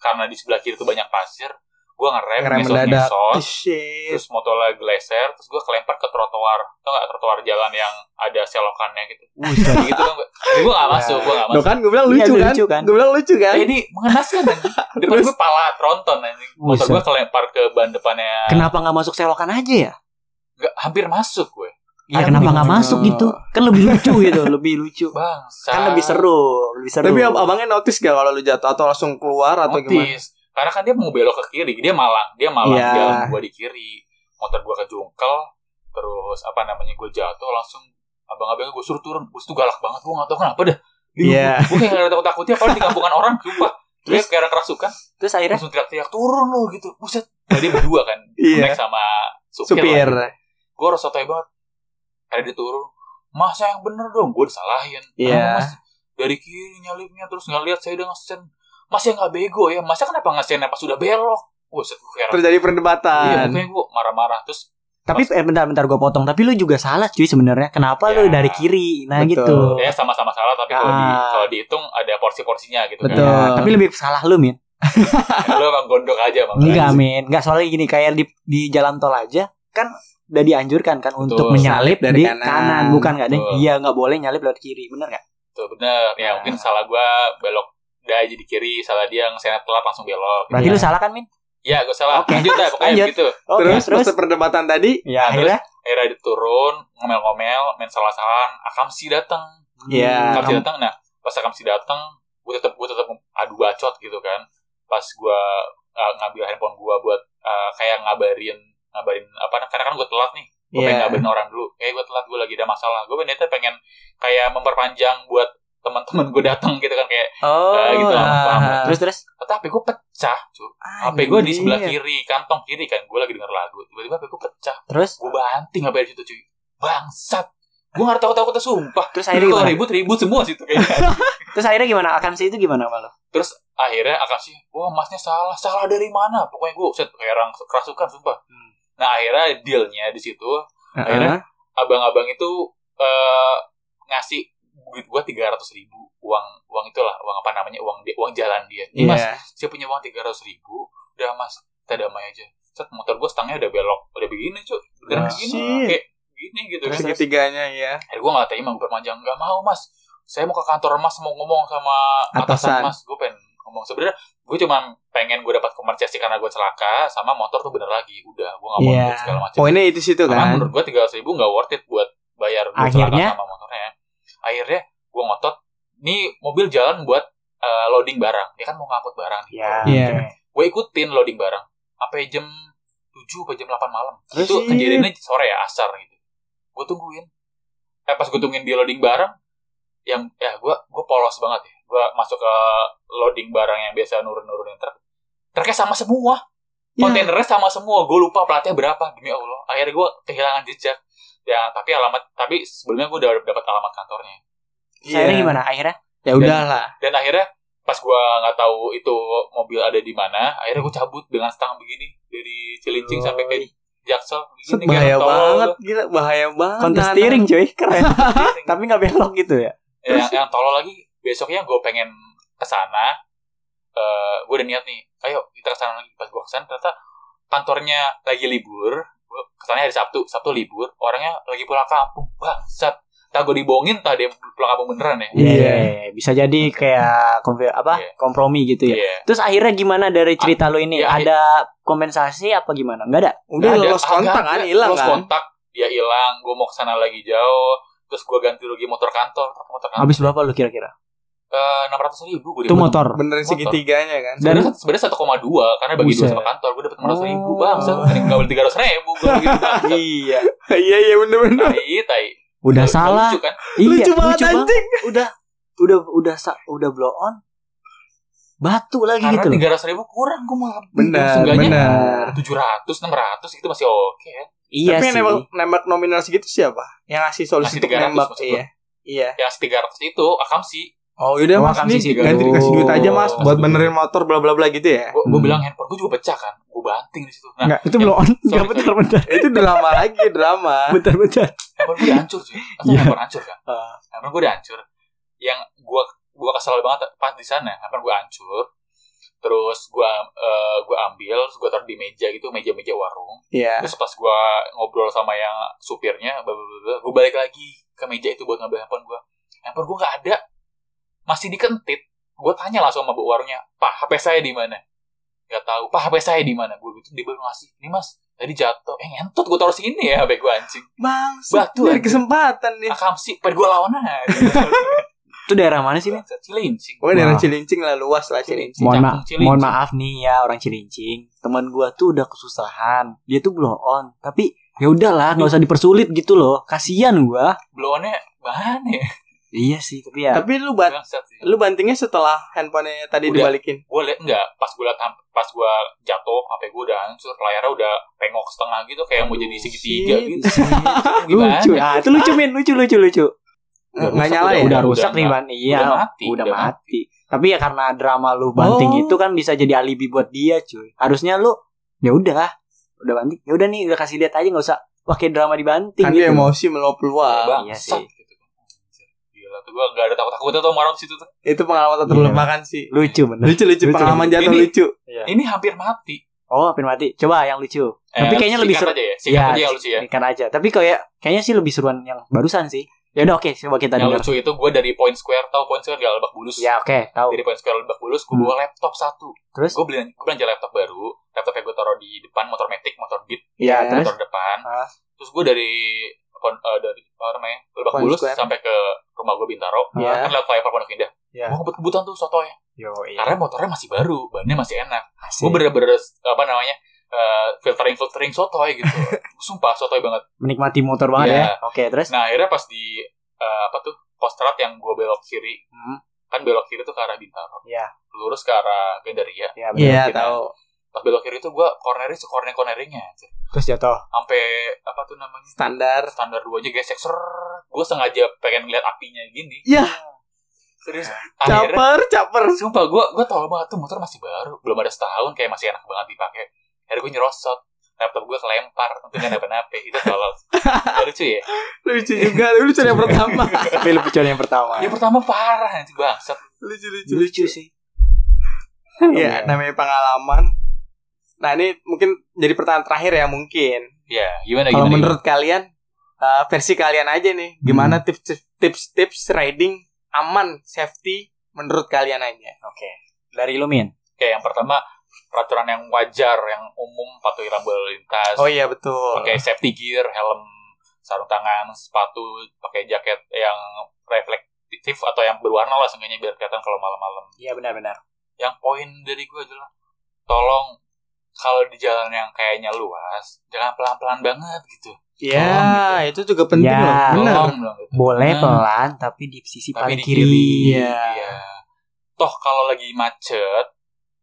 S1: karena di sebelah kiri tuh banyak pasir. Gue ngerem,
S2: ngerem
S1: ngesot-
S2: mendadak.
S1: ngesot.
S2: Shit.
S1: terus motor lagi geleser terus gue kelempar ke trotoar tau gak trotoar jalan yang ada selokannya gitu
S3: Buset.
S1: gitu dong gue gak masuk gue gak
S2: Tuh
S1: masuk
S2: kan gue bilang
S3: Iya,
S2: lucu,
S3: lucu
S2: kan?
S3: kan?
S2: Gue bilang lucu kan?
S1: Eh, ini mengenaskan anjing. depan
S2: Terus?
S1: gue pala tronton anjing motor
S3: Buset.
S1: gue kelempar ke ban depannya
S3: Kenapa nggak masuk selokan aja ya?
S1: Nggak- hampir masuk gue Ah,
S3: Ya kenapa nggak
S2: iya.
S3: masuk gitu? Kan lebih lucu gitu, lebih lucu.
S1: bangsa
S3: Kan lebih seru, lebih seru.
S2: Tapi ab- abangnya notice gak kalau lu jatuh atau langsung keluar atau gimana?
S1: Otis. karena kan dia mau belok ke kiri dia malang dia malang
S2: Iya.
S1: jalan gue di kiri motor gue kejungkel terus apa namanya gue jatuh langsung abang-abangnya gue suruh turun terus tuh galak banget gue gak tau kenapa dah Bingung.
S2: Iya.
S1: gue kayak gak ada takut-takutnya padahal di kampungan orang sumpah dia kayak orang kerasukan
S3: Terus akhirnya
S1: langsung teriak-teriak turun lo gitu buset nah, dia berdua kan
S2: Iya.
S1: Connect sama supir,
S2: Supir.
S1: gue harus sotoy banget akhirnya dia turun masa yang bener dong gue disalahin
S2: Iya.
S1: Ah, Mas, dari kiri nyalipnya terus nggak lihat saya udah ngesen masnya nggak bego ya masa kenapa ngesennya pas sudah belok buset gue kayak
S2: Terjadi
S1: iya
S2: perdebatan.
S1: makanya gue marah-marah terus
S3: tapi eh, bentar-bentar gue potong. Tapi lu juga salah cuy sebenarnya. Kenapa
S1: Ya.
S3: lu dari kiri? Nah
S2: Betul.
S3: gitu.
S1: ya sama-sama salah tapi kalau di
S3: Ah.
S1: kalau dihitung ada porsi-porsinya gitu
S2: Betul.
S1: kan
S3: Ya, tapi lebih salah lu min.
S1: Ya, lo kan gondok aja makanya
S3: Enggak min. Enggak soalnya gini kayak di di jalan tol aja kan udah dianjurkan kan untuk
S1: Betul.
S3: menyalip
S2: Dari
S3: dari
S2: kanan.
S3: kanan, bukan nggak deh?
S1: Betul.
S3: Iya nggak boleh nyalip lewat kiri, bener nggak?
S1: Tuh bener, ya
S3: Nah.
S1: mungkin salah gua belok udah jadi kiri, salah dia ngesennya telat langsung belok.
S3: Berarti
S1: Iya.
S3: lu salah kan min?
S1: Ya, gua salah.
S3: Oke.
S1: Lanjut dah, pokoknya
S3: Lanjut.
S1: begitu.
S3: Oke
S2: terus,
S3: terus.
S2: pas perdebatan tadi,
S1: Nah,
S3: Ya akhirnya.
S1: Akhirnya dia turun, ngomel-ngomel, main salah-salahan. Akamsi datang.
S3: Ya,
S2: Iya.
S1: Akamsi
S2: Kamu-
S1: datang, nah pas Akamsi datang, gua tetap gua tetap adu bacot gitu kan. Pas gua uh, ngambil handphone gua buat uh, kayak ngabarin ngabarin apa karena kan gua telat nih. Gue
S3: Ya.
S1: pengen
S2: Iya.
S1: ngabarin orang dulu. Kayak gue telat, gue lagi ada masalah. Gue ternyata pengen kayak memperpanjang buat teman-teman gue datang gitu kan kayak
S2: Oh,
S1: Nah, gitu lah, paham lah.
S3: Terus terus.
S1: tapi gue pecah cuy
S2: Ah,
S1: HP gue
S2: iya.
S1: di sebelah kiri, kantong kiri kan. Gue lagi denger lagu. Tiba-tiba HP gue pecah.
S3: Terus.
S1: Gue banting HP di situ cuy. Bangsat. Gue gak takut takutnya sumpah.
S3: Terus
S1: Itu
S3: akhirnya
S1: kalau
S3: gimana?
S1: ribut ribut semua situ kayaknya.
S3: Terus akhirnya gimana? Akan sih itu gimana sama lu?
S1: Terus akhirnya akan sih, wah masnya salah, salah dari mana? Pokoknya gue set kayak orang kerasukan sumpah.
S2: Hmm.
S1: Nah akhirnya dealnya di situ, Akhirnya, abang-abang itu eh, ngasih duit gue tiga ratus ribu uang uang itulah uang apa namanya uang dia- uang jalan dia. Ini mas
S2: Iya.
S1: saya punya uang tiga ratus ribu udah mas kita damai aja set motor gue stangnya udah belok udah begini cuy beneran
S3: Wah,
S1: begini
S2: shit.
S1: kayak begini gitu kan
S2: Segitiganya ya.
S1: akhirnya gue Eh, nggak terima gue perpanjang nggak mau mas saya mau ke kantor mas mau ngomong sama
S2: Atasan.
S1: atasan, mas gue pengen ngomong sebenarnya gue cuma pengen gue dapat kompensasi karena gue celaka sama motor tuh bener lagi udah gue nggak mau
S3: Iya.
S1: ikut segala macam
S2: Poinnya itu situ
S1: karena
S2: kan.
S1: menurut gue tiga ratus ribu nggak worth it buat bayar gue
S3: Akhirnya?
S1: celaka sama motornya akhirnya gue ngotot nih mobil jalan buat eh, loading barang dia kan mau ngangkut barang nih.
S3: Ya.
S2: Iya.
S1: gue ikutin loading barang sampai jam 7 apa jam 8 malam
S2: Terus
S1: itu
S2: sih.
S1: kejadiannya sore ya asar gitu gue tungguin eh pas gue tungguin di loading barang yang ya gue gue polos banget ya gue masuk ke loading barang yang biasa nurun nurunin truk truknya sama semua
S2: Ya.
S1: kontainernya sama semua gue lupa platnya berapa demi allah akhirnya gue kehilangan jejak ya tapi alamat tapi sebelumnya gue udah dapat alamat kantornya
S3: Terus akhirnya
S2: Iya.
S3: gimana? Akhirnya.
S2: Ya udahlah.
S1: dan akhirnya pas gua nggak tahu itu mobil ada di mana akhirnya
S2: Hmm.
S1: gua cabut dengan stang begini dari Cilincing sampai ke Jaksel
S2: Set,
S1: begini
S2: bahaya
S1: kayak tolol
S2: banget,
S1: lu.
S2: gila bahaya banget.
S3: Kontes
S2: Nah,
S3: steering cuy, keren. Tapi nggak belok gitu ya.
S1: Eh, yang, yang tolol lagi besoknya gua pengen ke sana Eh, gua udah niat nih ayo kita ke sana lagi pas gua ke sana ternyata kantornya lagi libur Gua kesannya hari Sabtu Sabtu libur orangnya lagi pulang kampung bangsat tak gua dibohongin tak dia pulang kampung beneran ya
S2: Iya.
S3: Bisa jadi kayak kompi- apa
S1: Iya.
S3: kompromi gitu ya.
S1: Iya.
S3: Terus akhirnya gimana dari cerita lu ini?
S1: iya,
S3: ada kompensasi apa gimana? Enggak ada.
S2: Udah
S1: Nggak ada.
S2: lolos
S1: Ah,
S2: kontak
S1: nggak,
S2: kan,
S1: nggak.
S2: hilang
S1: Lost
S2: kan.
S1: kontak, dia hilang. Gue mau kesana lagi jauh. Terus gue ganti rugi motor kantor. Motor kantor. Eh,
S3: Habis berapa lu kira-kira?
S1: enam ratus ribu gue
S3: Itu motor.
S2: Beneran
S1: Motor.
S2: segitiganya kan.
S3: Dan-
S1: Sebenarnya sebenarnya satu koma dua karena bagi dua
S3: Buset.
S1: sama kantor gue dapat enam ratus ribu
S3: Oh.
S1: bang. Saya nggak boleh tiga ratus ribu gue gitu bang.
S3: iya.
S2: Iya iya bener-bener.
S1: Tai tai.
S3: Udah
S1: Lucu
S3: salah.
S1: kan?
S3: Iya,
S2: Lucu banget anjing.
S3: Udah udah udah sa- udah blow on. Batu lagi
S1: Karena
S3: gitu loh.
S1: tiga ratus ribu kurang gue malah.
S2: Bener,
S1: Seenggaknya
S2: bener.
S1: tujuh ratus enam ratus gitu masih oke. ya.
S3: Iya
S2: Tapi
S3: sih.
S2: yang nembak, nembak nominal segitu siapa? Yang ngasih
S1: Ngasih
S2: solusi untuk
S1: 300
S2: nembak
S1: maksud
S2: iya. Iya.
S1: yang 300 itu akam sih
S2: Oh yaudah
S3: Emang
S2: mas
S3: kan
S2: nih
S3: sisi
S2: ganti
S3: gaduh.
S2: dikasih duit aja mas buat
S1: Mas,
S2: benerin motor bla bla bla gitu ya.
S1: gue
S3: Hmm.
S1: bilang handphone gue juga pecah kan gue banting di situ nah
S3: Enggak, itu belum on. Enggak
S1: sorry.
S3: bentar, bentar.
S2: itu drama lagi drama.
S3: Bentar, bentar.
S1: handphone gue hancur sih atau
S3: Iya.
S1: handphone hancur kan
S2: Ah.
S1: handphone gue udah hancur yang gue gue kesel banget pas di sana handphone gue hancur terus gue eh, gue ambil terus gue taruh di meja gitu meja-meja warung
S2: Iya.
S1: terus pas gue ngobrol sama yang supirnya gue balik lagi ke meja itu buat ngambil handphone gue handphone gue nggak ada masih dikentit gue tanya langsung sama bu warungnya pak hp saya di mana nggak tahu pak hp saya di mana gue gitu dia baru ngasih ini mas tadi jatuh eh ngentot gue taruh sini ya hp gue anjing
S2: Bang,
S1: Batu
S2: dari
S1: aja.
S2: kesempatan nih.
S1: akam sih pen gue lawan aja
S3: Itu daerah mana sih, Min?
S1: cilincing
S2: Pokoknya daerah
S3: Wah.
S2: Cilincing lah luas lah Cilincing.
S3: Oh, Mohon, ma-
S1: Cakung, Cilincing.
S3: mohon maaf nih ya orang Cilincing. Teman gua tuh udah kesusahan. Dia tuh belum on. Tapi ya udahlah, nggak usah dipersulit gitu loh. Kasian gua.
S1: blowannya mana ya
S3: Iya sih, tapi ya
S2: Tapi lu bat
S1: Bangsat sih.
S2: lu bantingnya setelah handphonenya tadi
S1: Udah.
S2: dibalikin.
S1: gue liat enggak pas gue liat hamp- pas gue jatuh hp gue udah hancur layarnya udah pengok setengah gitu kayak mau
S3: Aduh,
S1: jadi segitiga
S2: shit.
S1: gitu
S3: lucu.
S1: gimana ya?
S3: Ah, itu lucu, Min. Lucu, lucu, lucu.
S1: Udah
S2: Nggak
S1: rusak,
S2: nyala
S1: udah-
S2: ya?
S3: udah rusak nih,
S1: nggak-
S3: Ban. Iya,
S1: udah mati,
S3: udah
S1: udah
S3: mati. Tapi ya karena drama lu banting
S2: Oh.
S3: itu kan bisa jadi alibi buat dia, cuy. Harusnya lu ya udah, udah banting. Ya udah nih, udah kasih lihat aja nggak usah pakai drama dibanting
S2: Kan dia
S3: gitu.
S2: emosi meluap-luap.
S3: Iya
S1: bangsat
S3: sih.
S1: gitu gila tuh gue gak ada takut takutnya tuh sama orang di situ tuh
S2: Itu pengalaman tak
S3: Iya.
S2: terlupakan sih.
S3: Lucu bener.
S2: Lucu lucu
S3: Lucu.
S2: pengalaman jatuh
S1: Ini-
S2: lucu.
S1: ini hampir mati
S3: Oh, hampir mati. Coba yang lucu. Tapi kayaknya lebih
S1: singkat
S3: seru-
S1: aja
S3: Iya,
S1: ya singkat aja yang lucu ya
S3: Singkat aja. Tapi kayak kayaknya sih lebih seruan yang barusan sih. Ya udah oke, coba kita
S1: yang
S3: dengar.
S1: lucu itu gue dari point square tau point square gak lebak bulus
S3: Ya oke, tahu.
S1: dari point square lebak bulus
S3: Hmm.
S1: gue bawa laptop satu
S3: Terus
S1: gue beli gue belanja laptop baru laptopnya gue taruh di depan motor metik motor beat
S3: ya,
S2: Iya,
S3: terus
S1: motor depan.
S2: Ah.
S1: Terus gue dari kon- eh, dari apa namanya Lebak
S2: Point
S1: Bulus
S2: Square.
S1: sampai ke rumah gue Bintaro.
S2: Iya.
S1: Kan lewat flyover Pondok Indah.
S3: Iya.
S1: Gue kebut-kebutan tuh sotonya.
S3: yo iya.
S1: Karena motornya masih baru, bannya masih enak.
S3: Asik.
S1: Gue bener-bener apa namanya eh, filtering-filtering sotoy gitu. Sumpah sotoy banget.
S3: menikmati motor banget
S1: Iya.
S3: ya. Oke, terus
S1: Nah akhirnya pas di eh, apa tuh postrat yang gue belok kiri,
S3: Hmm.
S1: kan belok kiri tuh ke arah Bintaro.
S3: Iya.
S1: Lurus ke arah Gandaria.
S3: ya bener.
S2: Iya,
S1: Kita-
S2: tahu.
S1: Pas belok kiri tuh gue cornerin sekorner-corneringnya.
S3: Terus jatuh.
S1: Sampai apa tuh namanya?
S2: Standar.
S1: standar dua aja gesek ser gue sengaja pengen lihat apinya gini
S2: Yah.
S1: serius akhirnya
S2: Caper, caper.
S1: sumpah gue gue tau banget tuh motor masih baru belum ada setahun kayak masih enak banget dipakai akhirnya gue nyerosot laptop gue kelempar tentunya napa-napa itu tolol Gak lucu ya
S2: Lucu juga. Lucu yang pertama.
S3: Tapi lu peculian yang pertama.
S1: yang pertama parah anjing bangsat
S2: Lucu lucu
S3: lucu sih.
S2: Iya,
S3: nah,
S2: namanya pengalaman. Nah, ini mungkin jadi pertanyaan terakhir ya mungkin.
S1: ya gimana
S2: Kalau
S1: gimana
S2: menurut kalian eh, versi kalian aja nih,
S3: Hmm.
S2: gimana tips-tips tips riding aman, safety menurut kalian aja?
S3: Oke. Dari lu Min.
S1: kayak yang pertama peraturan yang wajar yang umum patuhi rambu lalu lintas
S2: Oh iya betul.
S1: pakai safety gear, helm, sarung tangan, sepatu, pakai jaket yang reflektif atau yang berwarna lah seenggaknya biar kelihatan kalau malam-malam.
S3: Iya benar-benar.
S1: Yang poin dari gue adalah tolong kalau di jalan yang kayaknya luas, jangan pelan-pelan banget gitu.
S2: Iya, Oh,
S1: Tolong
S2: itu juga penting
S3: Ya.
S2: loh. Benar.
S1: Tolong dong gitu.
S3: Boleh
S1: Hmm.
S3: pelan tapi di sisi
S1: Tapi
S3: paling
S1: di
S3: kiri.
S1: kiri.
S2: Iya.
S1: Iya. Toh kalau lagi macet,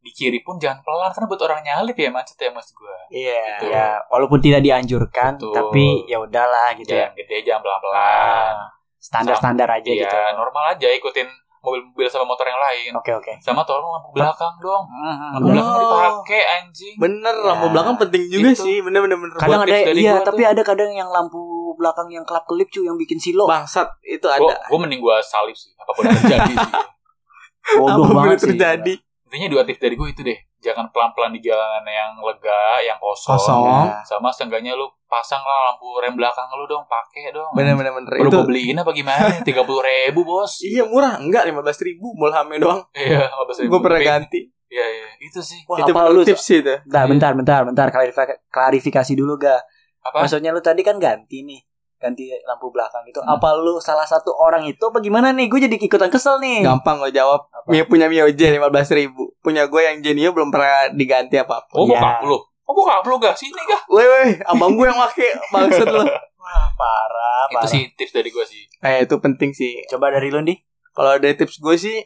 S1: di kiri pun jangan pelan karena buat orang nyalip ya macet ya mas gue.
S2: Iya.
S1: Betul.
S3: Ya, walaupun tidak dianjurkan,
S1: Betul.
S3: tapi ya udahlah gitu ya.
S1: Jangan gede, jangan pelan-pelan.
S3: Ah, Standar-standar aja
S1: Iya,
S3: gitu.
S1: normal aja ikutin mobil-mobil sama motor yang lain.
S3: Oke, oke.
S1: Sama tolong lampu belakang dong. Lampu
S2: Oh.
S1: belakang nggak dipakai anjing.
S2: Bener,
S3: Ya.
S2: lampu belakang penting juga
S1: Itu.
S2: sih. Bener bener bener.
S3: Kadang
S1: Buat
S3: ada
S1: tips dari
S3: iya,
S1: gua
S3: tapi ada kadang yang lampu belakang yang kelap-kelip cuy yang bikin silo.
S2: bangsat itu
S1: Gue
S2: ada.
S1: gue mending gue salib sih apapun yang terjadi sih.
S3: Bodoh
S2: Apapun yang
S3: banget sih. Iya.
S2: terjadi.
S1: Intinya dua tips dari gue itu deh. Jangan pelan-pelan di jalanan yang lega, yang kosong.
S2: Kosong.
S3: Ya.
S1: Sama seenggaknya lu pasang lah lampu rem belakang lu dong, pakai dong.
S2: Bener bener bener.
S1: Perlu
S2: Itu
S1: gue beliin apa gimana? Tiga puluh ribu bos.
S2: Iya murah, enggak 15 ribu Mulhamnya doang.
S1: Iya, apa sih?
S2: Gue pernah kan. ganti.
S1: Iya iya, itu sih.
S3: Wah,
S2: itu
S3: apa
S2: menurut
S3: lu?
S2: tips sih itu.
S3: Bentar, bentar, bentar, bentar. Klarifi- Klarifikasi dulu, ga.
S1: Apa?
S3: Maksudnya lu tadi kan ganti nih ganti lampu belakang itu apa lu salah satu orang itu apa gimana nih gue jadi ikutan kesel nih
S2: Gampang lo jawab.
S3: Apa?
S1: Iya.
S2: Mio punya Mio J 15 ribu. Punya gue yang Genio belum pernah diganti apa-apa.
S1: Oh,
S3: Iya.
S1: bokap lu. Oh, bokap lu gak? Sini gak?
S2: Woi, woi, abang gue yang make maksud lo.
S3: Wah, parah
S1: Itu
S3: parah
S1: sih tips dari gue sih.
S2: Eh, itu penting sih.
S3: coba dari lu nih
S2: Kalau dari tips gue sih,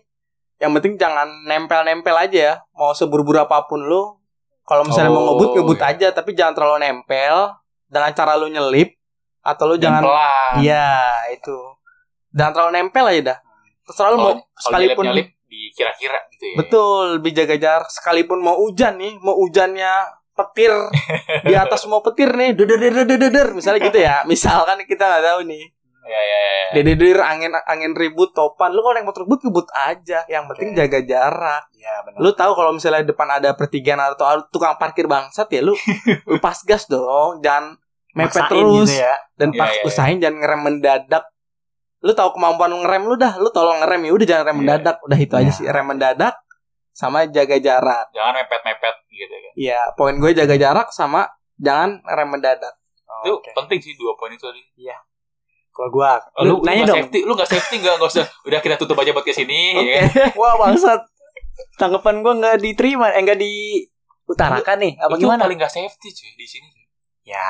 S2: yang penting jangan nempel-nempel aja ya. Mau seburu-buru apapun lo. Kalau misalnya mau
S1: Oh,
S2: ngebut, ngebut
S1: iya.
S2: aja. Tapi jangan terlalu nempel. dengan cara lu nyelip atau lu jangan
S1: pelan.
S2: Iya, itu. Jangan terlalu nempel aja dah. Terserah lu
S1: Kalau-
S2: mau
S1: kalau
S2: sekalipun
S1: nyelip-nyelip dikira-kira gitu ya.
S2: betul lebih jaga jarak sekalipun mau hujan nih, mau hujannya petir di atas mau petir nih, deder deder deder misalnya gitu ya. Misalkan kita nggak tahu nih.
S1: Ya ya ya. ya.
S2: Deder deder angin angin ribut topan. Lu kalau naik motor ribut ribut aja. Yang penting
S3: Oke.
S2: jaga jarak.
S3: Iya benar.
S2: Lu tahu kalau misalnya depan ada pertigaan atau ada tukang parkir bangsat ya lu lu pas gas dong, jangan mepet
S3: Maksain
S2: terus
S3: gitu ya.
S2: dan
S1: Iya,
S2: pas
S1: iya, iya.
S2: usahain jangan ngerem mendadak lu tahu kemampuan lu ngerem lu dah lu tolong ngerem ya udah jangan rem
S1: Iya.
S2: mendadak udah itu aja
S3: Iya.
S2: sih rem mendadak sama jaga jarak
S1: Jangan mepet-mepet gitu kan.
S2: ya poin gue jaga jarak sama jangan rem mendadak
S1: Itu
S3: Oke.
S1: penting sih dua poin itu tadi.
S3: Kalau gua,
S1: Oh, Lu,
S3: lu, nanya
S1: nggak
S3: dong.
S1: safety, lu gak safety gak, gak usah. Udah kita tutup aja buat ke sini.
S2: oke
S1: Ya. kan?
S3: Wah bangsat. Tanggapan gua nggak diterima, eh nggak diutarakan nih. Apa
S1: Itu
S3: gimana?
S1: paling gak safety cuy di sini.
S3: Ya,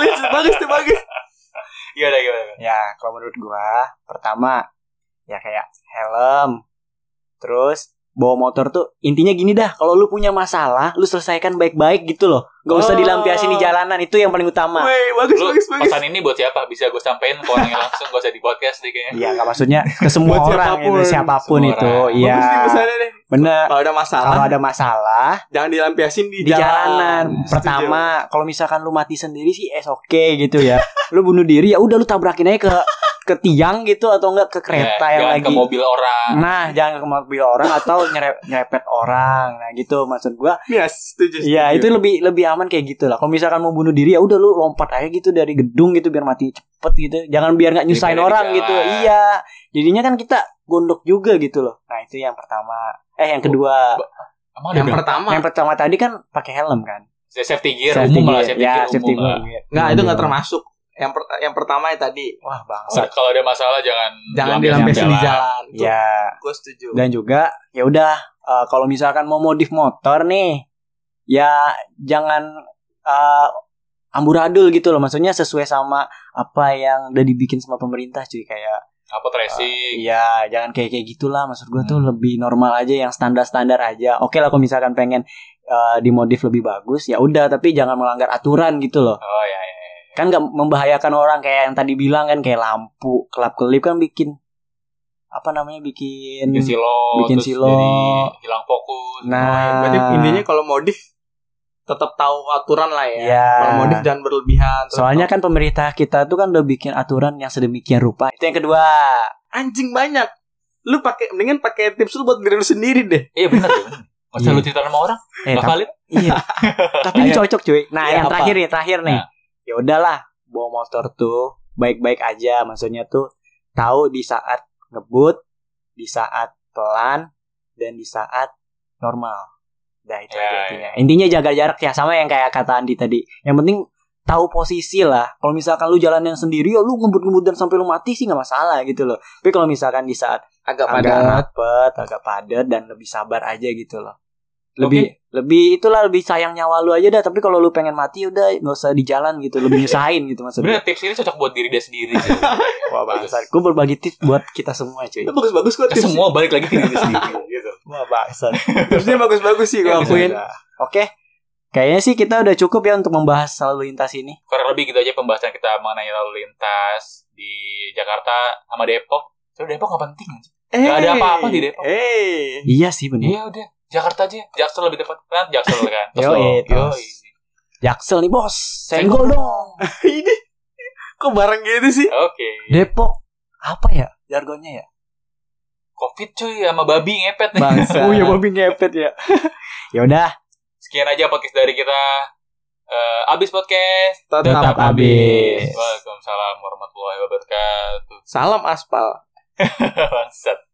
S2: Bagus, bagus tuh bagus
S1: Iya udah gimana? gimana?
S3: ya kalau menurut gua pertama ya kayak helm. Terus bawa motor tuh intinya gini dah, kalau lu punya masalah, lu selesaikan baik-baik gitu loh. Gak usah
S2: Oh.
S3: dilampiasin di jalanan, itu yang paling utama.
S2: Wey, bagus
S1: Lu
S2: bagus bagus
S1: pesan ini buat siapa? Bisa gue sampein ke orangnya langsung. Gak usah di podcast deh kayaknya. Nah,
S3: Iya, nggak maksudnya ke semua
S2: Buat
S3: orang
S2: siapapun.
S3: itu siapapun
S1: Semua
S3: itu.
S1: orang.
S3: Iya.
S2: bagus nih pesannya deh
S3: Bener.
S2: Ya. kalau ada masalah
S3: Kalau ada masalah
S2: jangan dilampiasin di,
S3: di jalanan.
S2: Setuju.
S3: Pertama, kalau misalkan lu mati sendiri sih es oke gitu ya. lu bunuh diri ya udah lu tabrakin aja ke ke tiang gitu atau enggak ke kereta
S1: Ya,
S3: yang
S1: jangan
S3: lagi.
S1: ke mobil orang.
S3: Nah, jangan ke mobil orang atau nyerep- nyerepet orang. Nah, gitu maksud gua.
S2: Iya, setuju
S3: Iya,
S2: setuju.
S3: itu lebih lebih aman kayak gitu lah. Kalau misalkan mau bunuh diri ya udah lu lompat aja gitu dari gedung gitu biar mati cepet gitu. Jangan biar nggak nyusahin
S1: Daripada di
S3: orang
S1: jalan.
S3: gitu. Iya. Jadinya kan kita gondok juga gitu loh. Nah, itu yang pertama. Eh, yang kedua.
S1: Emang ada
S2: Oh, yang
S1: berapa?
S2: pertama
S3: Yang pertama tadi kan pakai helm kan?
S1: Safety gear Iya, umum lah. Safety
S3: ya,
S1: gear
S3: safety
S1: umum lah.
S3: gear.
S2: nggak Nah, itu nggak
S3: Iya.
S2: termasuk yang per- yang pertama yang tadi
S3: Wah,
S1: Sa-
S3: bangsa.
S1: Kalau ada masalah jangan
S2: jangan
S1: dilampiasin
S2: dilampiasin di jalan Tuh,
S3: Ya,
S2: gue setuju
S3: dan juga ya udah eh, kalau misalkan mau modif motor nih ya jangan eh, amburadul gitu loh. Maksudnya sesuai sama apa yang udah dibikin sama pemerintah cuy kayak
S1: Apa tracing?
S3: Iya, jangan kayak kayak gitulah. Maksud gua tuh lebih normal aja, yang standar standar aja. Oke lah, kalau misalkan pengen eh, dimodif lebih bagus, ya udah. Tapi jangan melanggar aturan gitu loh.
S1: Oh ya ya. ya.
S3: Kan nggak membahayakan orang kayak yang tadi bilang kan, kayak lampu kelap kelip kan bikin apa namanya bikin.
S1: Bikin silo,
S3: Bikin
S1: terus
S3: silo.
S1: jadi hilang fokus.
S3: Nah,
S2: Berarti intinya kalau modif tetap tahu aturan lah ya.
S3: Iya.
S2: Kalau modif jangan berlebihan. Tetap
S3: Soalnya
S2: tahu.
S3: kan pemerintah kita tuh kan udah bikin aturan yang sedemikian rupa. Itu yang kedua.
S2: anjing banyak. Lu pakai mendingan pakai tips lu buat diri lu sendiri deh.
S1: Iya benar tuh. Masa
S3: Iya.
S1: lu cerita sama orang?
S3: Eh,
S1: Gak
S3: tapi-
S1: valid?
S3: Iya. Tapi ini
S2: Ayo.
S3: cocok cuy. Nah,
S2: Iya,
S3: yang
S2: apa?
S3: terakhir nih, terakhir nih.
S1: Nah.
S3: Ya udahlah, bawa motor tuh baik-baik aja. Maksudnya tuh tahu di saat ngebut, di saat pelan dan di saat normal. Nah, itu
S1: Ya,
S3: aja
S1: ya.
S3: intinya. Intinya jaga jarak ya sama yang kayak kata Andi tadi. Yang penting tahu posisi lah. Kalau misalkan lu jalan yang sendiri, ya lu ngebut-ngebut dan sampai lu mati sih nggak masalah gitu loh. Tapi kalau misalkan di saat
S2: Agak
S3: agak
S2: padat.
S3: rapet, agak padat dan lebih sabar aja gitu loh. Lebih lebih itulah lebih sayang nyawa lu aja dah, tapi kalau lu pengen mati udah nggak usah di jalan gitu, lebih nyusahin gitu
S1: Sebenarnya
S3: maksudnya.
S1: tips ini cocok buat diri dia sendiri. sih.
S3: Wah, bangsat. Gue berbagi tips buat kita semua, cuy.
S2: Itu Ya, bagus-bagus kok
S1: Ke
S2: tips.
S1: semua balik lagi ke diri sendiri. Gitu.
S3: Wah, bangsat.
S2: Tipsnya bagus-bagus sih gue
S1: Iya,
S2: akuin.
S3: Udah. Oke. Kayaknya sih kita udah cukup ya untuk membahas lalu lintas ini.
S1: Kurang lebih gitu aja pembahasan kita mengenai lalu lintas di Jakarta sama Depok. Terus Depok gak penting aja. Nggak ada apa-apa di Depok.
S2: Hey.
S3: Iya sih bener.
S1: Iya udah. Jakarta aja. Jaksel lebih tepat. Kan Jaksel kan. Yo,
S3: Yoi, terus. Jaksel nih, Bos. Senggol
S1: Senggol.
S3: dong.
S2: Ini kok bareng gitu sih?
S1: Oke.
S3: Depok apa ya jargonnya ya?
S1: Covid cuy sama babi ngepet nih.
S2: Bangsa.
S3: Oh ya babi ngepet ya. ya udah,
S1: Sekian aja podcast dari kita. Eh, abis podcast.
S2: Tetap
S3: habis.
S1: Waalaikumsalam warahmatullahi wabarakatuh.
S2: Salam aspal.
S1: Bangsat.